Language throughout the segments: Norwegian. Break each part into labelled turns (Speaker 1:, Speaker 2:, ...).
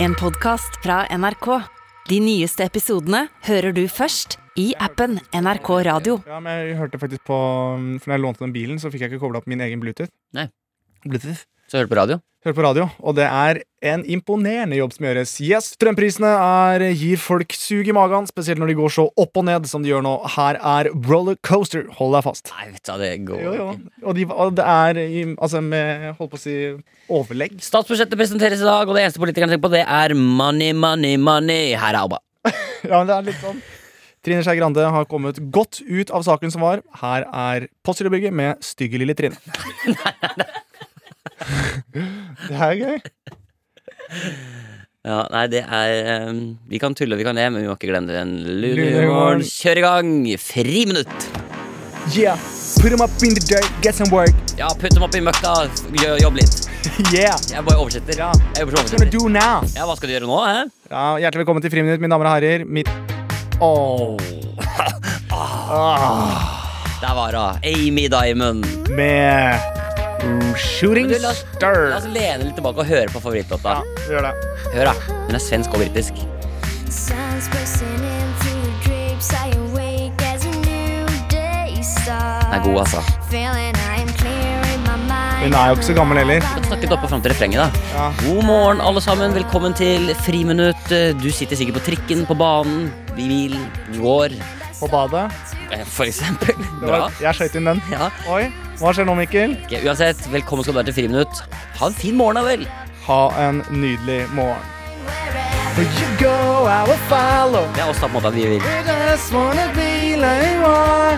Speaker 1: En podcast fra NRK. De nyeste episodene hører du først i appen NRK Radio.
Speaker 2: Ja, men jeg hørte faktisk på um, For når jeg lånte den bilen, så fikk jeg ikke kobla opp min egen Bluetooth.
Speaker 3: Nei.
Speaker 2: Bluetooth.
Speaker 3: Så hører du på radio?
Speaker 2: Hører på radio, og det er en imponerende jobb som gjøres. Yes, Strømprisene er, gir folk sug i magen, spesielt når de går så opp og ned som de gjør nå. Her er rollercoaster. Hold deg fast.
Speaker 3: Nei, vet du hva, det går
Speaker 2: Jo, jo.
Speaker 3: ikke.
Speaker 2: Og, de, og det er i- altså med holdt på å si overlegg.
Speaker 3: Statsbudsjettet presenteres i dag, og det eneste politikerne tenker på, det er money, money, money. Her er ABBA.
Speaker 2: Ja, men det er litt sånn. Trine Skei Grande har kommet godt ut av saken som var. Her er Postgirobygget med stygge lille Trine. Det er gøy.
Speaker 3: Ja, nei, det er um, Vi kan tulle, vi kan le, men vi må ikke glemme den lune
Speaker 2: Lune humoren.
Speaker 3: humoren. Kjør i gang! Friminutt!
Speaker 2: Yeah, put them up in the dirt, get some work.
Speaker 3: Ja, putt dem opp i møkka, gjør- jobb litt.
Speaker 2: Yeah.
Speaker 3: Jeg bare oversetter.
Speaker 2: Ja.
Speaker 3: Jeg bare oversetter.
Speaker 2: do now?
Speaker 3: Ja, hva skal du gjøre nå, hæ?
Speaker 2: Ja, hjertelig velkommen til Friminutt, mine damer og herrer. Mitt Åh
Speaker 3: Der var hun. Amy Diamond.
Speaker 2: Med mm, Shooting
Speaker 3: Men du, la oss- La
Speaker 2: Star.
Speaker 3: oss lene litt tilbake og høre på favorittlåta.
Speaker 2: Ja, gjør det.
Speaker 3: Hør, da. Den er svensk og britisk.
Speaker 4: Sun's bursting in through the drapes. I awake as a new day starts.
Speaker 3: Den er god, altså.
Speaker 4: Feeling I am clear in my mind.
Speaker 2: Hun er jo ikke så gammel heller.
Speaker 3: Vi kan snakke litt opp og fram til refrenget, da.
Speaker 2: Ja.
Speaker 3: God morgen, alle sammen. Velkommen til Friminutt. Du sitter sikkert på trikken, på banen, i bilen, du går,
Speaker 2: På badet.
Speaker 3: eh, for eksempel.
Speaker 2: Det var,
Speaker 3: Bra.
Speaker 2: jeg skøyt inn den.
Speaker 3: Ja.
Speaker 2: Oi, hva skjer nå, Mikkel?
Speaker 3: Ok, uansett, velkommen skal du være til Friminutt. Ha en fin morgen, da vel.
Speaker 2: Ha en nydelig morgen. Where you go, I will follow.
Speaker 3: Det er oss, da, på en måte. at Vi vil.
Speaker 2: We just wanna be like you are.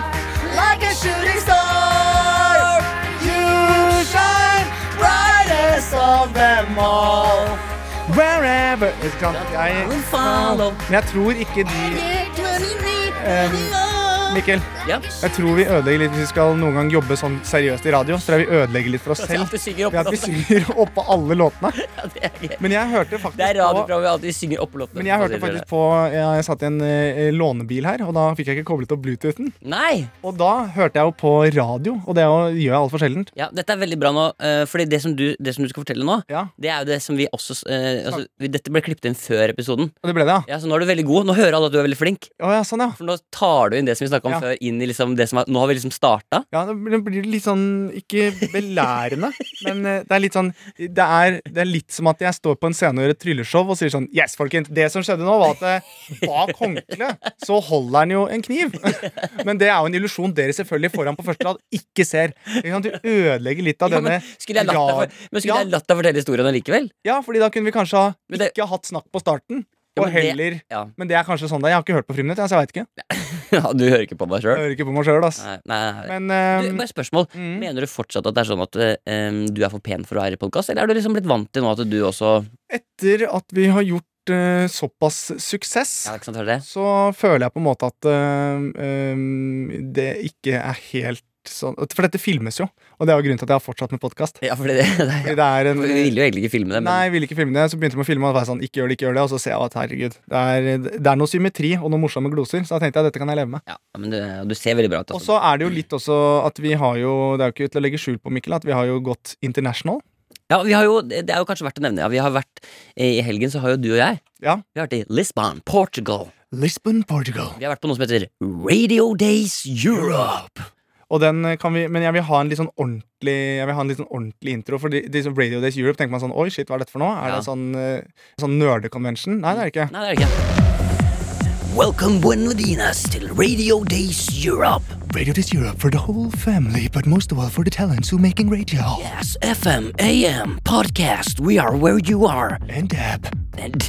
Speaker 2: Like a shooting star. You shine brightest of them all. Wherever Ikke sant? Jeg,
Speaker 3: We'll follow.
Speaker 2: men jeg tror ikke de
Speaker 5: Um,
Speaker 2: eh, Mikkel,
Speaker 3: Ja.
Speaker 2: jeg tror vi ødelegger litt hvis vi skal noen gang jobbe sånn seriøst i radio. Så tror jeg vi ødelegger litt for oss
Speaker 3: At vi
Speaker 2: selv.
Speaker 3: alltid synger opp
Speaker 2: Ved at
Speaker 3: på
Speaker 2: vi synger oppå alle låtene.
Speaker 3: Ja, det er gøy.
Speaker 2: Men jeg hørte faktisk
Speaker 3: Det er
Speaker 2: på-
Speaker 3: radioprogrammet vi alltid synger Altså, opp på låtene.
Speaker 2: Men jeg hørte faktisk på Jeg satt i en eh, lånebil her, og da fikk jeg ikke koblet opp Bluetoothen.
Speaker 3: Nei!
Speaker 2: Og da hørte jeg jo på radio, og det er jo- gjør jeg altfor sjelden.
Speaker 3: Ja, dette er veldig bra nå, eh, fordi det som du, det som du skal fortelle nå,
Speaker 2: Ja,
Speaker 3: det er jo det som vi også eh, altså, vi- Dette ble klippet inn før episoden.
Speaker 2: og det ble det, ja.
Speaker 3: Ja, så nå er du veldig god. Nå hører alle at du er veldig flink.
Speaker 2: Å ja, sånn, ja.
Speaker 3: For nå tar du inn det som vi snakka om
Speaker 2: Ja.
Speaker 3: før, inn i liksom det som er, Nå har vi liksom starta.
Speaker 2: ja. Det blir- det blir litt sånn ikke belærende, men eh, det er litt sånn det er, det er litt som at jeg står på en scene og gjør et trylleshow og sier sånn Yes, folkens, det som skjedde nå, var at eh, bak håndkleet så holder han jo en kniv. Men det er jo en illusjon dere selvfølgelig foran på første rad ikke ser. Ikke sant? Du ødelegger litt av
Speaker 3: Ja,
Speaker 2: denne
Speaker 3: men skulle jeg latt deg,
Speaker 2: rad-
Speaker 3: for, men skulle
Speaker 2: Ja.
Speaker 3: jeg latt deg fortelle historien allikevel?
Speaker 2: Ja, fordi da kunne vi kanskje ha
Speaker 3: Men det-
Speaker 2: ikke hatt snakk på starten.
Speaker 3: Eh, Ja,
Speaker 2: Og
Speaker 3: men det-
Speaker 2: heller
Speaker 3: Ja.
Speaker 2: Men det er kanskje sånn det er. Jeg har ikke hørt på Friminutt, jeg, så jeg veit ikke.
Speaker 3: ja, du hører ikke på meg
Speaker 2: Jeg
Speaker 3: sjøl?
Speaker 2: hører ikke på meg sjøl, ass.
Speaker 3: Nei, nei, nei.
Speaker 2: Men
Speaker 3: Du,
Speaker 2: ehm,
Speaker 3: bare et spørsmål.
Speaker 2: mm.
Speaker 3: Mener du fortsatt at det er sånn at eh, um, du er for pen for å være i podkast, eller er du liksom blitt vant til nå at du også
Speaker 2: etter at vi har gjort eh, såpass suksess,
Speaker 3: Ja, ikke sant, hører du det?
Speaker 2: så føler jeg på en måte at ehm, ehm, det ikke er helt sånn For dette filmes jo, og det er jo grunnen til at jeg har fortsatt med podkast.
Speaker 3: Ja, fordi det, det
Speaker 2: Fordi
Speaker 3: er,
Speaker 2: det er en
Speaker 3: Vi ville jo egentlig ikke filme det,
Speaker 2: Nei,
Speaker 3: men
Speaker 2: jeg ville ikke filme det. Så begynte jeg med å filme, og det var sånn, ikke gjør det, ikke gjør det. Og så ser jeg at herregud, det er, det er noe symmetri og noen morsomme gloser, så da tenkte jeg dette kan jeg leve med.
Speaker 3: ja, men du, du ser veldig bra ut.
Speaker 2: Og
Speaker 3: Altså.
Speaker 2: så er det jo litt også at vi har jo Det er jo ikke til å legge skjul på, Mikkel, at vi har jo gått international.
Speaker 3: Ja, vi har jo, det er jo kanskje verdt å nevne. Ja. Vi har vært, eh, I helgen så har jo du og jeg
Speaker 2: Ja.
Speaker 3: Vi har vært i Lisbon, Portugal.
Speaker 2: Lisbon, Portugal.
Speaker 3: Vi har vært på noe som heter Radio Days Europe.
Speaker 2: Og den kan vi, men jeg vil ha en litt sånn ordentlig Jeg vil ha en litt sånn ordentlig intro. For de, de som Radio Days Europe tenker man sånn Oi, shit, hva er dette for noe? Er
Speaker 3: Ja.
Speaker 2: det sånn, eh, sånn nerdeconvention? Nei, det er det ikke.
Speaker 3: Nei, det er det ikke. Welcome buenladinas til Radio Days Europe.
Speaker 2: Radio Days Europe for the whole family, but most of all for the talents who making radio.
Speaker 3: Yes, FM, AM, podcast, we are where you are.
Speaker 2: And dab.
Speaker 3: And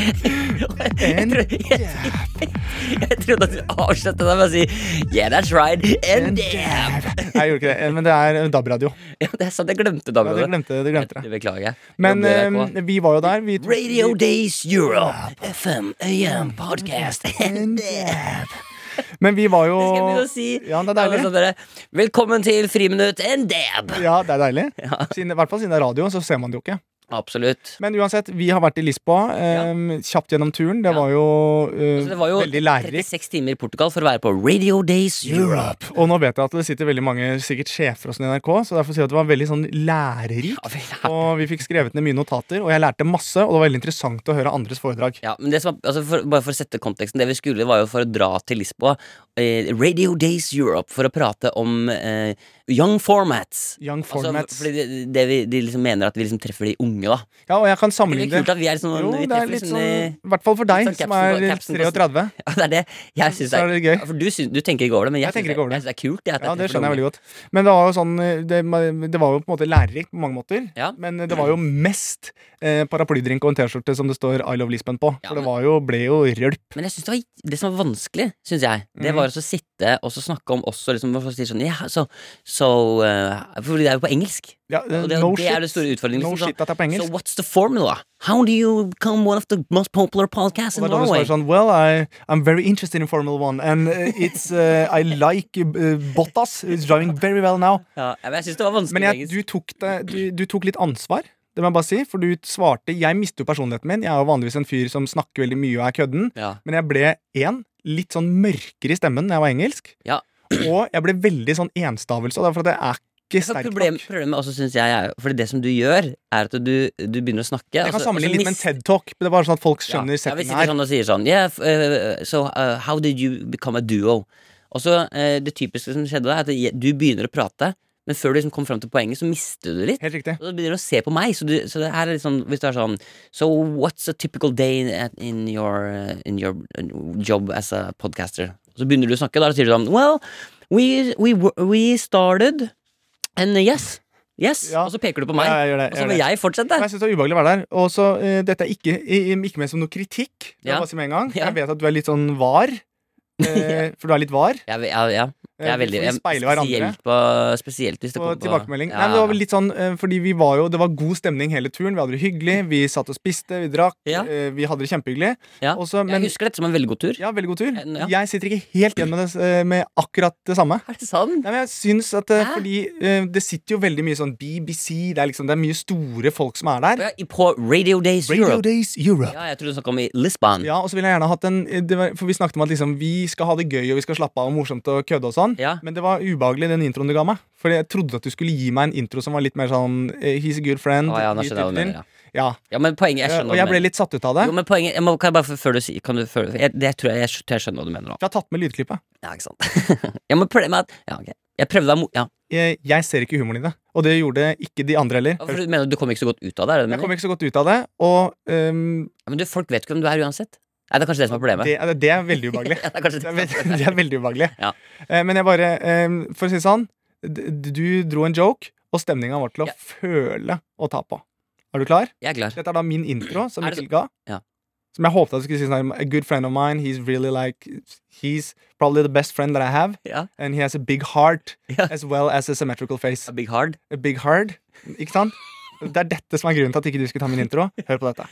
Speaker 3: jeg, trodde, jeg, jeg trodde at du avsluttet deg med å si Yeah, that's right. And damn.
Speaker 2: Jeg gjorde ikke det, men det er eh, DAB-radio.
Speaker 3: Ja, det er sant, jeg
Speaker 2: Ja,
Speaker 3: glemte
Speaker 2: det
Speaker 3: damene.
Speaker 2: glemte det glemte
Speaker 3: det
Speaker 2: det.
Speaker 3: beklager jeg.
Speaker 2: Men
Speaker 3: Jobber i NRK.
Speaker 2: eh, vi var jo der. Vi,
Speaker 3: Radio Days Europe. FM, AM, podcast. And damn.
Speaker 2: Men vi var jo
Speaker 3: Det skal jeg begynne å si.
Speaker 2: Ja, det er deilig.
Speaker 3: Alle sammen dere, Velkommen til Friminutt and dab.
Speaker 2: Ja, det er deilig. Siden, I hvert fall siden det er radio, så ser man det jo ikke.
Speaker 3: Absolutt.
Speaker 2: Men uansett, vi har vært i Lisboa. eh, Kjapt gjennom turen. Det
Speaker 3: Ja.
Speaker 2: var jo, eh,
Speaker 3: Så det var jo
Speaker 2: veldig lærerikt.
Speaker 3: 36 timer i Portugal for å være på Radio Days Europe.
Speaker 2: Og nå vet jeg at det sitter veldig mange sikkert sjefer og sånn i NRK, så derfor sier jeg at det var veldig sånn lærerikt.
Speaker 3: Ja, vel, ja.
Speaker 2: Og vi fikk skrevet ned mye notater, og jeg lærte masse, og det var veldig interessant å høre andres foredrag.
Speaker 3: Ja, men det som, var- altså for, Bare for å sette konteksten Det vi skulle, var jo for å dra til Lisboa. Eh, Radio Days Europe for å prate om eh, young formats.
Speaker 2: Young
Speaker 3: Altså,
Speaker 2: formats.
Speaker 3: fordi det, det vi, de liksom mener at vi liksom treffer de unge, da.
Speaker 2: Ja, og jeg kan
Speaker 3: Det er
Speaker 2: sammenligne
Speaker 3: kult at vi er sånn
Speaker 2: Jo,
Speaker 3: vi
Speaker 2: det er
Speaker 3: treffer
Speaker 2: litt
Speaker 3: sånn,
Speaker 2: sånn
Speaker 3: eh,
Speaker 2: I hvert fall for deg,
Speaker 3: litt sånn
Speaker 2: som er
Speaker 3: capsen på- capsen på-
Speaker 2: 33.
Speaker 3: Ja, det er det. Jeg synes det
Speaker 2: Så er det gøy.
Speaker 3: Ja, for du, syns- du tenker ikke over det, men jeg,
Speaker 2: Jeg tenker
Speaker 3: syns
Speaker 2: ikke over
Speaker 3: det.
Speaker 2: det.
Speaker 3: Jeg syns det er kult. Jeg, at
Speaker 2: Ja, det
Speaker 3: jeg treffer
Speaker 2: skjønner jeg
Speaker 3: unge.
Speaker 2: veldig godt. Men det var jo sånn eh, Det, det var jo på en måte lærerikt på mange måter.
Speaker 3: Ja.
Speaker 2: Men det var jo mest eh, paraplydrink og en T-skjorte som det står I Love Lisbon på.
Speaker 3: Ja,
Speaker 2: For
Speaker 3: men-
Speaker 2: det var jo, ble jo rølp.
Speaker 3: Men jeg synes det, var, det som var vanskelig, synes jeg, det
Speaker 2: Mhm.
Speaker 3: var også å sitte og så snakke om også liksom, hvorfor sier sånn, ja, så, så, eh, Fordi det er jo på engelsk.
Speaker 2: Ja, eh,
Speaker 3: Og det,
Speaker 2: no
Speaker 3: det er jo den
Speaker 2: shit.
Speaker 3: store utfordringen.
Speaker 2: No
Speaker 3: liksom, sånn,
Speaker 2: shit at det er på
Speaker 3: So
Speaker 2: engelsk.
Speaker 3: what's the formula? How do you become one of the most popular podcasts
Speaker 2: Og
Speaker 3: in
Speaker 2: det er da du
Speaker 3: Norway?
Speaker 2: svarer sånn Well, I, I'm very interested in Formula One, and uh, it's uh, I like uh, Bottas. It's driving very well now.
Speaker 3: Ja, men jeg synes det var vanskelig
Speaker 2: Men jeg,
Speaker 3: engelsk.
Speaker 2: du, tok det, du, du tok litt ansvar. Det må jeg bare si, for du svarte Jeg mister jo personligheten min. Jeg er jo vanligvis en fyr som snakker veldig mye og er kødden.
Speaker 3: Ja.
Speaker 2: Men jeg ble én, litt sånn mørkere i stemmen når jeg var engelsk.
Speaker 3: Ja.
Speaker 2: Og jeg ble veldig sånn enstavelse, og det er for at jeg er ikke
Speaker 3: Så
Speaker 2: sterk
Speaker 3: Altså, Problem,
Speaker 2: nok.
Speaker 3: problemet også synes jeg er Fordi det som du gjør, er at du, du begynner å snakke altså,
Speaker 2: Jeg kan
Speaker 3: og så- og så
Speaker 2: sammenligne litt med en
Speaker 3: mister-
Speaker 2: TED-talk. men Det er bare sånn at folk
Speaker 3: Ja,
Speaker 2: skjønner
Speaker 3: ja, vi
Speaker 2: settingen
Speaker 3: sitter
Speaker 2: her.
Speaker 3: sånn og sier sånn yeah, f- eh, So eh, how did you become a duo? Og så eh, Det typiske som skjedde, da, er at jeg- du begynner å prate, men før du liksom kom fram til poenget, så mister du det litt.
Speaker 2: Helt riktig.
Speaker 3: Og så begynner du å se på meg. Så, du, så det her er litt sånn Hvis du er sånn So what's a typical day at, in, your, eh, in your eh, job as a podcaster? Så begynner du å snakke, da og sier du sånn Well, we, we, wo- we started And yes. Yes.
Speaker 2: Ja.
Speaker 3: Og så peker du på meg.
Speaker 2: Ja, jeg gjør det, jeg
Speaker 3: og så
Speaker 2: gjør
Speaker 3: må
Speaker 2: det.
Speaker 3: jeg fortsette.
Speaker 2: Jeg synes det var ubehagelig å være der. Og så, eh, Dette er ikke, i- i- ikke ment som noe kritikk.
Speaker 3: Ja.
Speaker 2: Ja. Jeg, med en gang.
Speaker 3: Ja.
Speaker 2: jeg vet at du er litt sånn var. Eh, for du er litt var.
Speaker 3: Jeg, vil- ja, ja. Jeg
Speaker 2: Eh,
Speaker 3: er veldig
Speaker 2: for
Speaker 3: jeg,
Speaker 2: vi speiler hverandre.
Speaker 3: spesielt, på, spesielt hvis det
Speaker 2: På
Speaker 3: kommer
Speaker 2: tilbakemelding.
Speaker 3: Ja.
Speaker 2: Nei, men det var vel litt sånn, eh, fordi vi var jo, Det var god stemning hele turen. Vi hadde det hyggelig. Vi satt og spiste, vi drakk.
Speaker 3: Ja.
Speaker 2: eh, Vi hadde det kjempehyggelig.
Speaker 3: ja.
Speaker 2: Og så- men-
Speaker 3: Jeg husker dette som en veldig god tur.
Speaker 2: Ja, veldig god tur.
Speaker 3: En- ja.
Speaker 2: Jeg sitter ikke helt igjen med, det, s- eh, med akkurat det samme.
Speaker 3: Er det sant?
Speaker 2: Nei, men jeg synes at eh,
Speaker 3: Hæ?
Speaker 2: fordi eh, Det sitter jo veldig mye sånn BBC, det er, liksom, det er mye store folk som er der.
Speaker 3: Ja, i- på Radio Days
Speaker 2: Radio
Speaker 3: Europe.
Speaker 2: Days Europe.
Speaker 3: Ja, jeg trodde du snakka om i Lisbon.
Speaker 2: Ja, og så ville jeg gjerne hatt en eh, det var, For vi snakket om at liksom, vi skal ha det gøy og vi skal slappe av og morsomt og kødde og sånn.
Speaker 3: Ja.
Speaker 2: Men det var ubehagelig, den introen du ga meg. For jeg trodde at du skulle gi meg en intro som var litt mer sånn eh, He's a good friend.
Speaker 3: Å, ja, nå
Speaker 2: he's
Speaker 3: skjønner jeg hva
Speaker 2: typen
Speaker 3: du mener.
Speaker 2: din.
Speaker 3: Ja.
Speaker 2: Ja.
Speaker 3: ja, men poenget Jeg
Speaker 2: Eh,
Speaker 3: skjønner
Speaker 2: Og
Speaker 3: hva
Speaker 2: jeg
Speaker 3: du
Speaker 2: ble
Speaker 3: mener.
Speaker 2: litt satt ut av det.
Speaker 3: Jo, men poenget jeg må, Kan jeg bare før du sier kan du, før, jeg, det tror jeg, jeg, skj- tror jeg skjønner hva du mener nå.
Speaker 2: For jeg har tatt med lydklippet.
Speaker 3: Ja, ikke sant? ja, men problemet er at Ja, ok. Jeg prøvde å mo- ja.
Speaker 2: Jeg, jeg ser ikke humoren i det. Og det gjorde ikke de andre heller.
Speaker 3: Ja, For du mener at du kom ikke så godt ut av det? Er det du
Speaker 2: Jeg
Speaker 3: mener?
Speaker 2: kom ikke så godt ut av det, og ehm,
Speaker 3: Ja, Men du, folk vet ikke hvem du er uansett. Nei, det er kanskje det som er problemet.
Speaker 2: det, det, det er veldig ubehagelig.
Speaker 3: ja, det er kanskje
Speaker 2: Det er,
Speaker 3: det som er
Speaker 2: veld,
Speaker 3: problemet.
Speaker 2: det er veldig ubehagelig.
Speaker 3: Ja.
Speaker 2: Eh, men jeg bare, eh, for å si det sånn, d- d- du dro en joke, og stemninga var til å
Speaker 3: Ja.
Speaker 2: føle å ta på. Er du klar?
Speaker 3: Jeg er klar.
Speaker 2: Dette er da min intro, som
Speaker 3: Er det
Speaker 2: Mikkel ga.
Speaker 3: Ja.
Speaker 2: Som jeg håpet at du skulle si sånn A good friend of mine, he's really like He's probably the best friend that I have,
Speaker 3: Ja.
Speaker 2: and he has a big heart
Speaker 3: Ja.
Speaker 2: as well as a symmetrical face.
Speaker 3: A big hard.
Speaker 2: A big heart. Ikke sant? Det er dette som er grunnen til at ikke du skulle ta min intro. Hør på dette.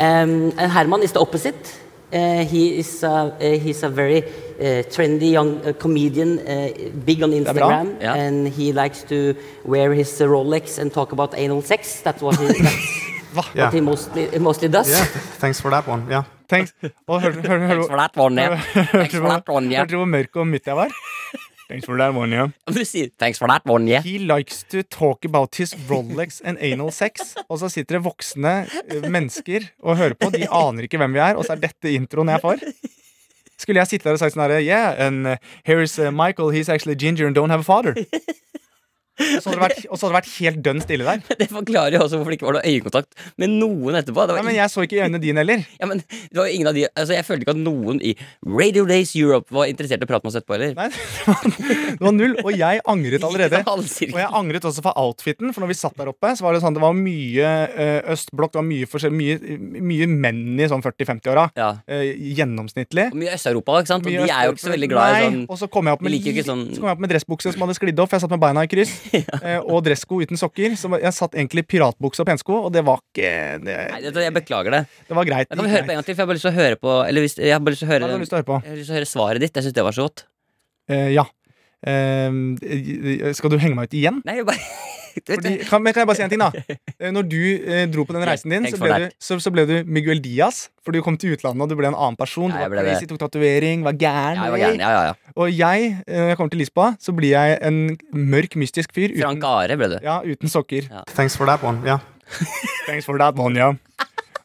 Speaker 6: Um, and Herman is the opposite. Uh, he is a, uh, he's a very uh, trendy young uh, comedian, uh, big on
Speaker 2: er bra.
Speaker 6: Instagram,
Speaker 3: Ja.
Speaker 6: and he likes to wear his uh, Rolex and talk about anal sex. That's what he, that's
Speaker 2: Hva?
Speaker 6: what he mostly, mostly does.
Speaker 2: Thanks for that one. Yeah. Thanks. Og hør, hør, hør,
Speaker 3: Thanks for that one, yeah. Thanks
Speaker 2: Hørte du
Speaker 3: for that
Speaker 2: hvor,
Speaker 3: one, yeah.
Speaker 2: hørte du hvor mørk og mutt jeg var? Thanks for that one, yeah.
Speaker 3: Du sier Thanks for that one, yeah.
Speaker 2: He likes to talk about his Rolex and anal sex. Og så sitter det voksne eh, mennesker og hører på. De aner ikke hvem vi er, og så er dette introen jeg får. Skulle jeg sitte der og sagt sånn herre Yeah, and uh, here is uh, Michael. He's actually ginger and don't have a father. Og så hadde det vært, og så hadde det vært helt dønn stille der.
Speaker 3: Det forklarer jo også hvorfor det ikke var noe øyekontakt med noen etterpå. Det var,
Speaker 2: Nei, men jeg så ikke i øynene dine heller.
Speaker 3: ja, men det var jo ingen av de Altså Jeg følte ikke at noen i Radio Days Europe var interessert i å prate med oss etterpå heller.
Speaker 2: Nei, det var, det var null, og jeg angret allerede.
Speaker 3: Ikke sånn halvsirkel.
Speaker 2: Og jeg angret også for outfiten, for når vi satt der oppe, så var det sånn det var mye eh, østblokk, det var mye, forskjell- mye, mye menn i sånn 40-50-åra.
Speaker 3: Ja.
Speaker 2: Eh, gjennomsnittlig.
Speaker 3: Og mye Øst-Europa, ikke sant? Og
Speaker 2: Mye
Speaker 3: de er jo ikke så veldig glad i
Speaker 2: Nei,
Speaker 3: sånn
Speaker 2: Og så kom jeg opp
Speaker 3: de
Speaker 2: med,
Speaker 3: liker jo ikke
Speaker 2: litt-
Speaker 3: sånn-
Speaker 2: så kom jeg opp med dressbukse som hadde sklidd off. Jeg satt med beina i kryss. eh, og dressko uten sokker. Så jeg satt egentlig i piratbukse og pensko, og det var ikke Det,
Speaker 3: Nei, vet du hva, jeg beklager det.
Speaker 2: det var greit.
Speaker 3: Da kan vi høre på en gang til, for jeg har bare lyst til å høre på Eller hvis, jeg har bare lyst til å høre,
Speaker 2: Hva har du lyst til å høre på?
Speaker 3: Jeg har lyst til å høre svaret ditt. Jeg syns det var så godt.
Speaker 2: Eh, ja. Eh, skal du henge meg ut igjen?
Speaker 3: Nei, jeg bare
Speaker 2: Fordi, kan, men kan jeg bare si en ting, da? Eh, Når du eh, dro på den reisen din,
Speaker 3: thanks
Speaker 2: så
Speaker 3: for
Speaker 2: ble,
Speaker 3: that.
Speaker 2: du, så, så ble du Miguel Diaz. For du kom til utlandet, og du ble en annen person. Du
Speaker 3: Ja, jeg
Speaker 2: var
Speaker 3: ble det.
Speaker 2: crazy, tok tatovering, var gæren.
Speaker 3: Ja, jeg var gæren. Ja, ja, ja.
Speaker 2: Og jeg, eh, når jeg kommer til Lisboa, så blir jeg en mørk, mystisk fyr uten,
Speaker 3: Frank Are ble det.
Speaker 2: ja, uten sokker.
Speaker 7: Thanks for that one. Yeah.
Speaker 2: Thanks for that one, yeah.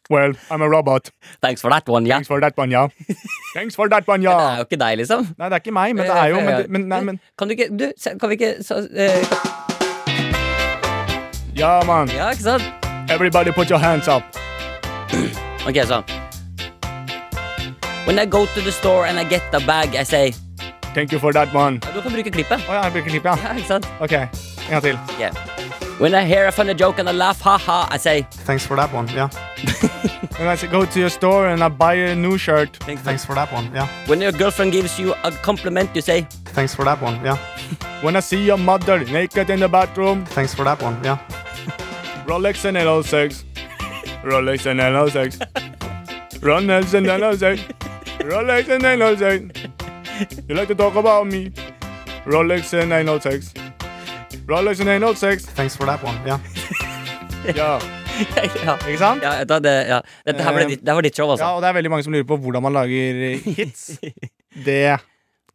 Speaker 2: Well, I'm a robot.
Speaker 3: Thanks for that one, ja.
Speaker 2: Thanks for that one, yeah. Thanks for that one,
Speaker 3: Det er
Speaker 2: yeah.
Speaker 3: jo ikke deg, liksom.
Speaker 2: Nei, det er ikke meg, men det er jo Men,
Speaker 3: Ja,
Speaker 2: det-
Speaker 3: ja.
Speaker 2: men, nei, men
Speaker 3: Kan du ikke Du, se- kan vi ikke så, eh,
Speaker 2: Ja, man.
Speaker 3: Ja, ikke sant?
Speaker 2: Everybody put your hands up.
Speaker 3: Ok, så When I go to the store and I get a bag, I say
Speaker 2: Thank you for that one.
Speaker 3: Ja, Du kan bruke klippet.
Speaker 2: Å ja, jeg bruker klipp, ja.
Speaker 3: Ja, ikke sant?
Speaker 2: Ok, en gang til.
Speaker 3: Ok. When I hear a funny joke and I laugh, ha-ha, I say
Speaker 7: Thanks for that one. Yeah.
Speaker 2: And I say, go to your store and I buy a new shirt.
Speaker 7: Thanks for that one. Yeah.
Speaker 3: When your girlfriend gives you a compliment, you say
Speaker 7: Thanks for that one. Yeah.
Speaker 2: When I see your mother naked in the bathroom,
Speaker 7: Thanks for that one. Yeah.
Speaker 2: Rolex and LL6. Rolex and LL6. Rolex and LL6. Rolex and LL6. You like to talk about me. Rolex and 906. Rolex and 906.
Speaker 7: Thanks for that one. Yeah.
Speaker 2: Ja,
Speaker 3: Ja,
Speaker 2: ikke sant?
Speaker 3: ja, vet du hva, det, ja. Dette her ble ditt, det var ditt show,
Speaker 2: Ehm. Ja,
Speaker 3: altså.
Speaker 2: og det er veldig mange som lurer på hvordan man lager eh, hits. Det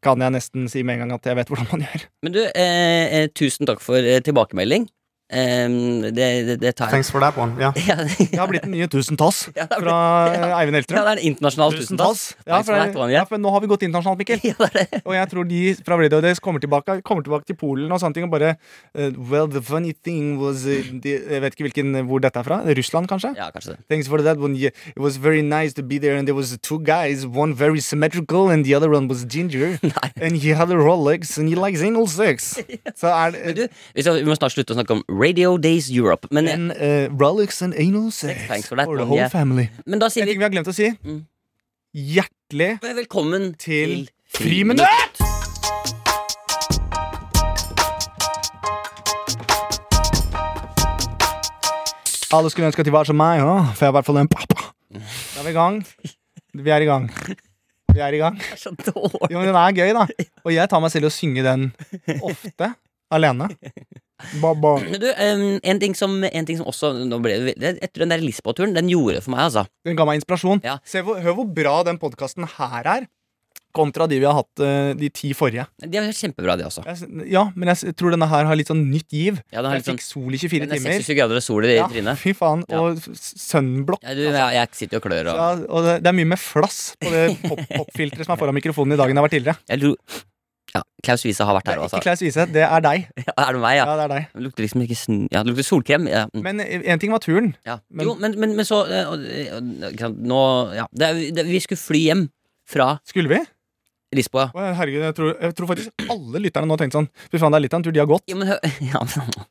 Speaker 2: kan jeg nesten si med en gang at jeg vet hvordan man gjør.
Speaker 3: Men du, eh, eh, tusen takk for eh, tilbakemelding. Eh, det, det, det tar jeg.
Speaker 7: Thanks for that one. Yeah.
Speaker 3: Ja,
Speaker 2: Jeg har blitt den nye Tusentass
Speaker 3: Ja, det er
Speaker 2: fra eh, Eivind
Speaker 3: ja, det
Speaker 2: Eltrøm.
Speaker 3: er en internasjonal tusentass.
Speaker 2: Ja,
Speaker 3: Thanks
Speaker 2: for,
Speaker 3: for that one,
Speaker 2: ja,
Speaker 3: ja.
Speaker 2: for nå har vi gått internasjonalt, Mikkel.
Speaker 3: Ja, det er det.
Speaker 2: Og jeg tror de fra Radio Days kommer tilbake, kommer tilbake til Polen og sånne ting og bare eh, Well, the funny thing was eh, de, Jeg vet ikke hvilken, eh, hvor dette er fra. Russland, kanskje?
Speaker 3: Ja, kanskje det.
Speaker 2: Thanks for that one. Yeah, it was very nice to be there, and there was two guys, one very symmetrical, and the other one was ginger. and he had a Rolex, and he likes anal sex. Så er det
Speaker 3: Du, vi, skal, vi må snart slutte å snakke om Radio Days Europe. Men,
Speaker 2: en eh, Rolex and anal sex
Speaker 3: Thanks for that
Speaker 2: the
Speaker 3: one,
Speaker 2: whole
Speaker 3: yeah.
Speaker 2: family.
Speaker 3: men da
Speaker 2: En
Speaker 3: sier
Speaker 2: ting
Speaker 3: vi
Speaker 2: vi
Speaker 3: Mm.
Speaker 2: har glemt å si. Hjertelig
Speaker 3: velkommen
Speaker 2: til
Speaker 3: til
Speaker 2: Friminutt! Alle skulle ønske at de var som meg, ja. for jeg er i hvert fall en pappa. Da er vi i gang. Vi er i gang. Vi er i gang.
Speaker 3: Det er så dårlig.
Speaker 2: Jo, men den er gøy, da. Og jeg tar meg selv i å synge den ofte. Alene. Baba.
Speaker 3: Men du, em, en, ting som, en ting som også nå ble, det- Jeg tror den der Lisboa-turen, den gjorde det for meg, altså.
Speaker 2: Den ga meg inspirasjon.
Speaker 3: Ja.
Speaker 2: Se hvor, hør hvor bra den podkasten her er, kontra de vi har hatt eh, de ti forrige.
Speaker 3: De er kjempebra, de også.
Speaker 2: Jeg, s- ja, men jeg s- tror denne her har litt sånn nytt giv.
Speaker 3: Ja, den har
Speaker 2: jeg
Speaker 3: litt sånn-
Speaker 2: fikk sol i 24
Speaker 3: Den er
Speaker 2: timer.
Speaker 3: 67 grader og sol i
Speaker 2: Ja,
Speaker 3: trynet.
Speaker 2: fy faen.
Speaker 3: Ja.
Speaker 2: Og s- sunblock.
Speaker 3: Ja, du, jeg, jeg sitter jo og klør og
Speaker 2: Ja, og det, det er mye mer flass på det pop- popfilteret som er foran mikrofonen i dag enn det har vært tidligere.
Speaker 3: jeg tror, ja, Klaus Wiese har vært her også.
Speaker 2: Ikke Klaus Wiese, det er deg.
Speaker 3: altså. Ja, er det meg, ja?
Speaker 2: Ja, det er deg.
Speaker 3: Det lukter liksom ikke sn... Ja, det lukter solkrem. Ja. mm,
Speaker 2: Men én ting var turen.
Speaker 3: ja.
Speaker 2: men-
Speaker 3: jo, men, men, men så eh, og- og- ikke sant, Nå Ja. Det, er- det, vi skulle fly hjem fra
Speaker 2: Skulle vi?
Speaker 3: Lisboa.
Speaker 2: Å, Herregud, jeg tror, jeg tror faktisk alle lytterne nå tenkte sånn Fy faen, det er litt av en tur de har gått.
Speaker 3: Ja, men, hø- ja, men,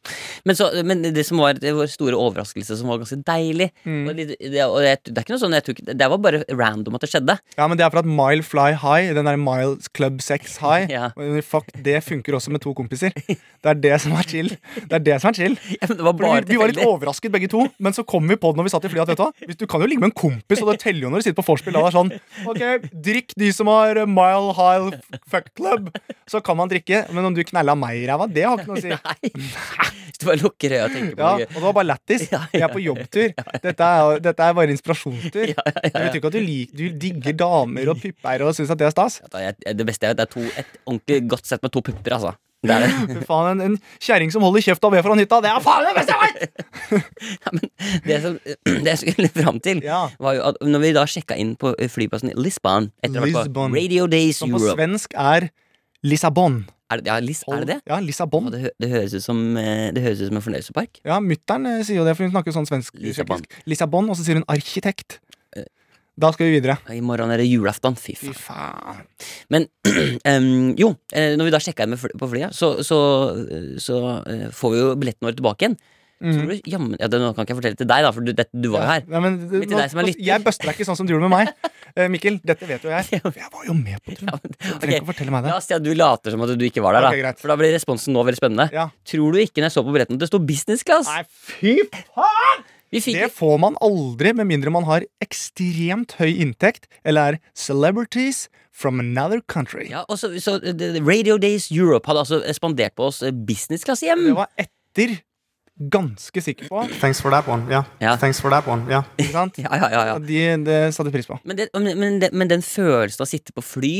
Speaker 3: men, så, men det som var det var store overraskelse, som var ganske deilig
Speaker 2: Mm.
Speaker 3: og litt- det, og jeg, det er ikke noe sånn jeg tror ikke, Det var bare random at det skjedde.
Speaker 2: Ja, men det er for at Mile Fly High, den der Mile Club Sex High
Speaker 3: Ja.
Speaker 2: og Fuck, det funker også med to kompiser. Det er det som er chill. Det er det som er chill.
Speaker 3: Ja, men det var
Speaker 2: Fordi
Speaker 3: bare
Speaker 2: vi, vi var litt
Speaker 3: tilfeldig.
Speaker 2: overrasket begge to, men så kom vi på det når vi satt i flyet. at, Vet du, hva, hvis du kan jo ligge med en kompis, og det teller jo når du sitter på vorspiel. da, Det er sånn, ok, drikk de som har eh, Mile High f- Fuck Club. Så kan man drikke, men om du knella meg i ræva, det har ikke noe å si.
Speaker 3: Hvis du bare lukker øya og tenker på
Speaker 2: Ja,
Speaker 3: det.
Speaker 2: og det var bare lættis.
Speaker 3: Ja,
Speaker 2: Jeg er på jobbtur. Dette er, dette er bare inspirasjonstur. Jeg vet jo ikke at du, lik, du digger damer og pupper og syns at det er stas.
Speaker 3: At jeg- Det beste jeg vet, er to, et ordentlig godt sett med to pupper, altså. Det er det.
Speaker 2: Fy faen, En, en kjerring som holder kjeft av ved foran hytta, det er faen det beste jeg veit!
Speaker 3: Ja, men det, som, det jeg skulle fram til,
Speaker 2: Ja.
Speaker 3: var jo at når vi da sjekka inn på flyplassen i Lisbon etter å ha vært på
Speaker 2: Lisbon.
Speaker 3: Radio Days
Speaker 2: Som på
Speaker 3: Europe
Speaker 2: svensk er Lissabon.
Speaker 3: er det, ja, Lis, er det det?
Speaker 2: Ja,
Speaker 3: Å,
Speaker 2: Lissabon.
Speaker 3: Det, hø- det høres ut som eh, Det høres ut som en fornøyelsespark.
Speaker 2: Ja, Mutter'n eh, sier jo det, for hun snakker jo sånn svensk.
Speaker 3: Lissabon.
Speaker 2: tjekkisk. Lissabon, Og så sier hun arkitekt. Da skal vi videre.
Speaker 3: I morgen er det julaften. Fy faen.
Speaker 2: Fy faen.
Speaker 3: Men em, jo, eh, når vi da sjekka inn med fly, på flyet, så, så, eh, så eh, får vi jo billetten vår tilbake igjen.
Speaker 2: Mhm.
Speaker 3: Så tror du, jammen, ja, det nå kan ikke jeg fortelle til deg, da, for du, det, du var jo her.
Speaker 2: Nei, men,
Speaker 3: Men til
Speaker 2: nå-
Speaker 3: deg som er lytter.
Speaker 2: jeg buster deg ikke sånn som du gjorde med meg. Eh, Mikkel, dette vet jo jeg. Jeg var jo med på turen.
Speaker 3: men-
Speaker 2: Du trenger ikke å
Speaker 3: ok,
Speaker 2: fortelle meg det.
Speaker 3: La oss si at du later som at du ikke var der, da.
Speaker 2: Ok, greit.
Speaker 3: for da blir responsen nå veldig spennende.
Speaker 2: Ja.
Speaker 3: Tror du ikke når jeg så på billetten at det sto business class?
Speaker 2: Nei, fy faen!
Speaker 3: Vi fikk
Speaker 2: Det får man aldri med mindre man har ekstremt høy inntekt eller er celebrities from another country.
Speaker 3: ja, og så, så eh, det- Radio Days Europe hadde altså spandert på oss eh, business class hjem.
Speaker 2: Det var etter ganske sikker på.
Speaker 7: Thanks for that one. Yeah.
Speaker 3: Ja.
Speaker 7: Thanks for that one. Yeah.
Speaker 2: Ikke sant?
Speaker 3: Ja, ja, ja, ja.
Speaker 2: Og de, det satte pris på.
Speaker 3: Men, det, men, men, det, men den følelsen av å sitte på fly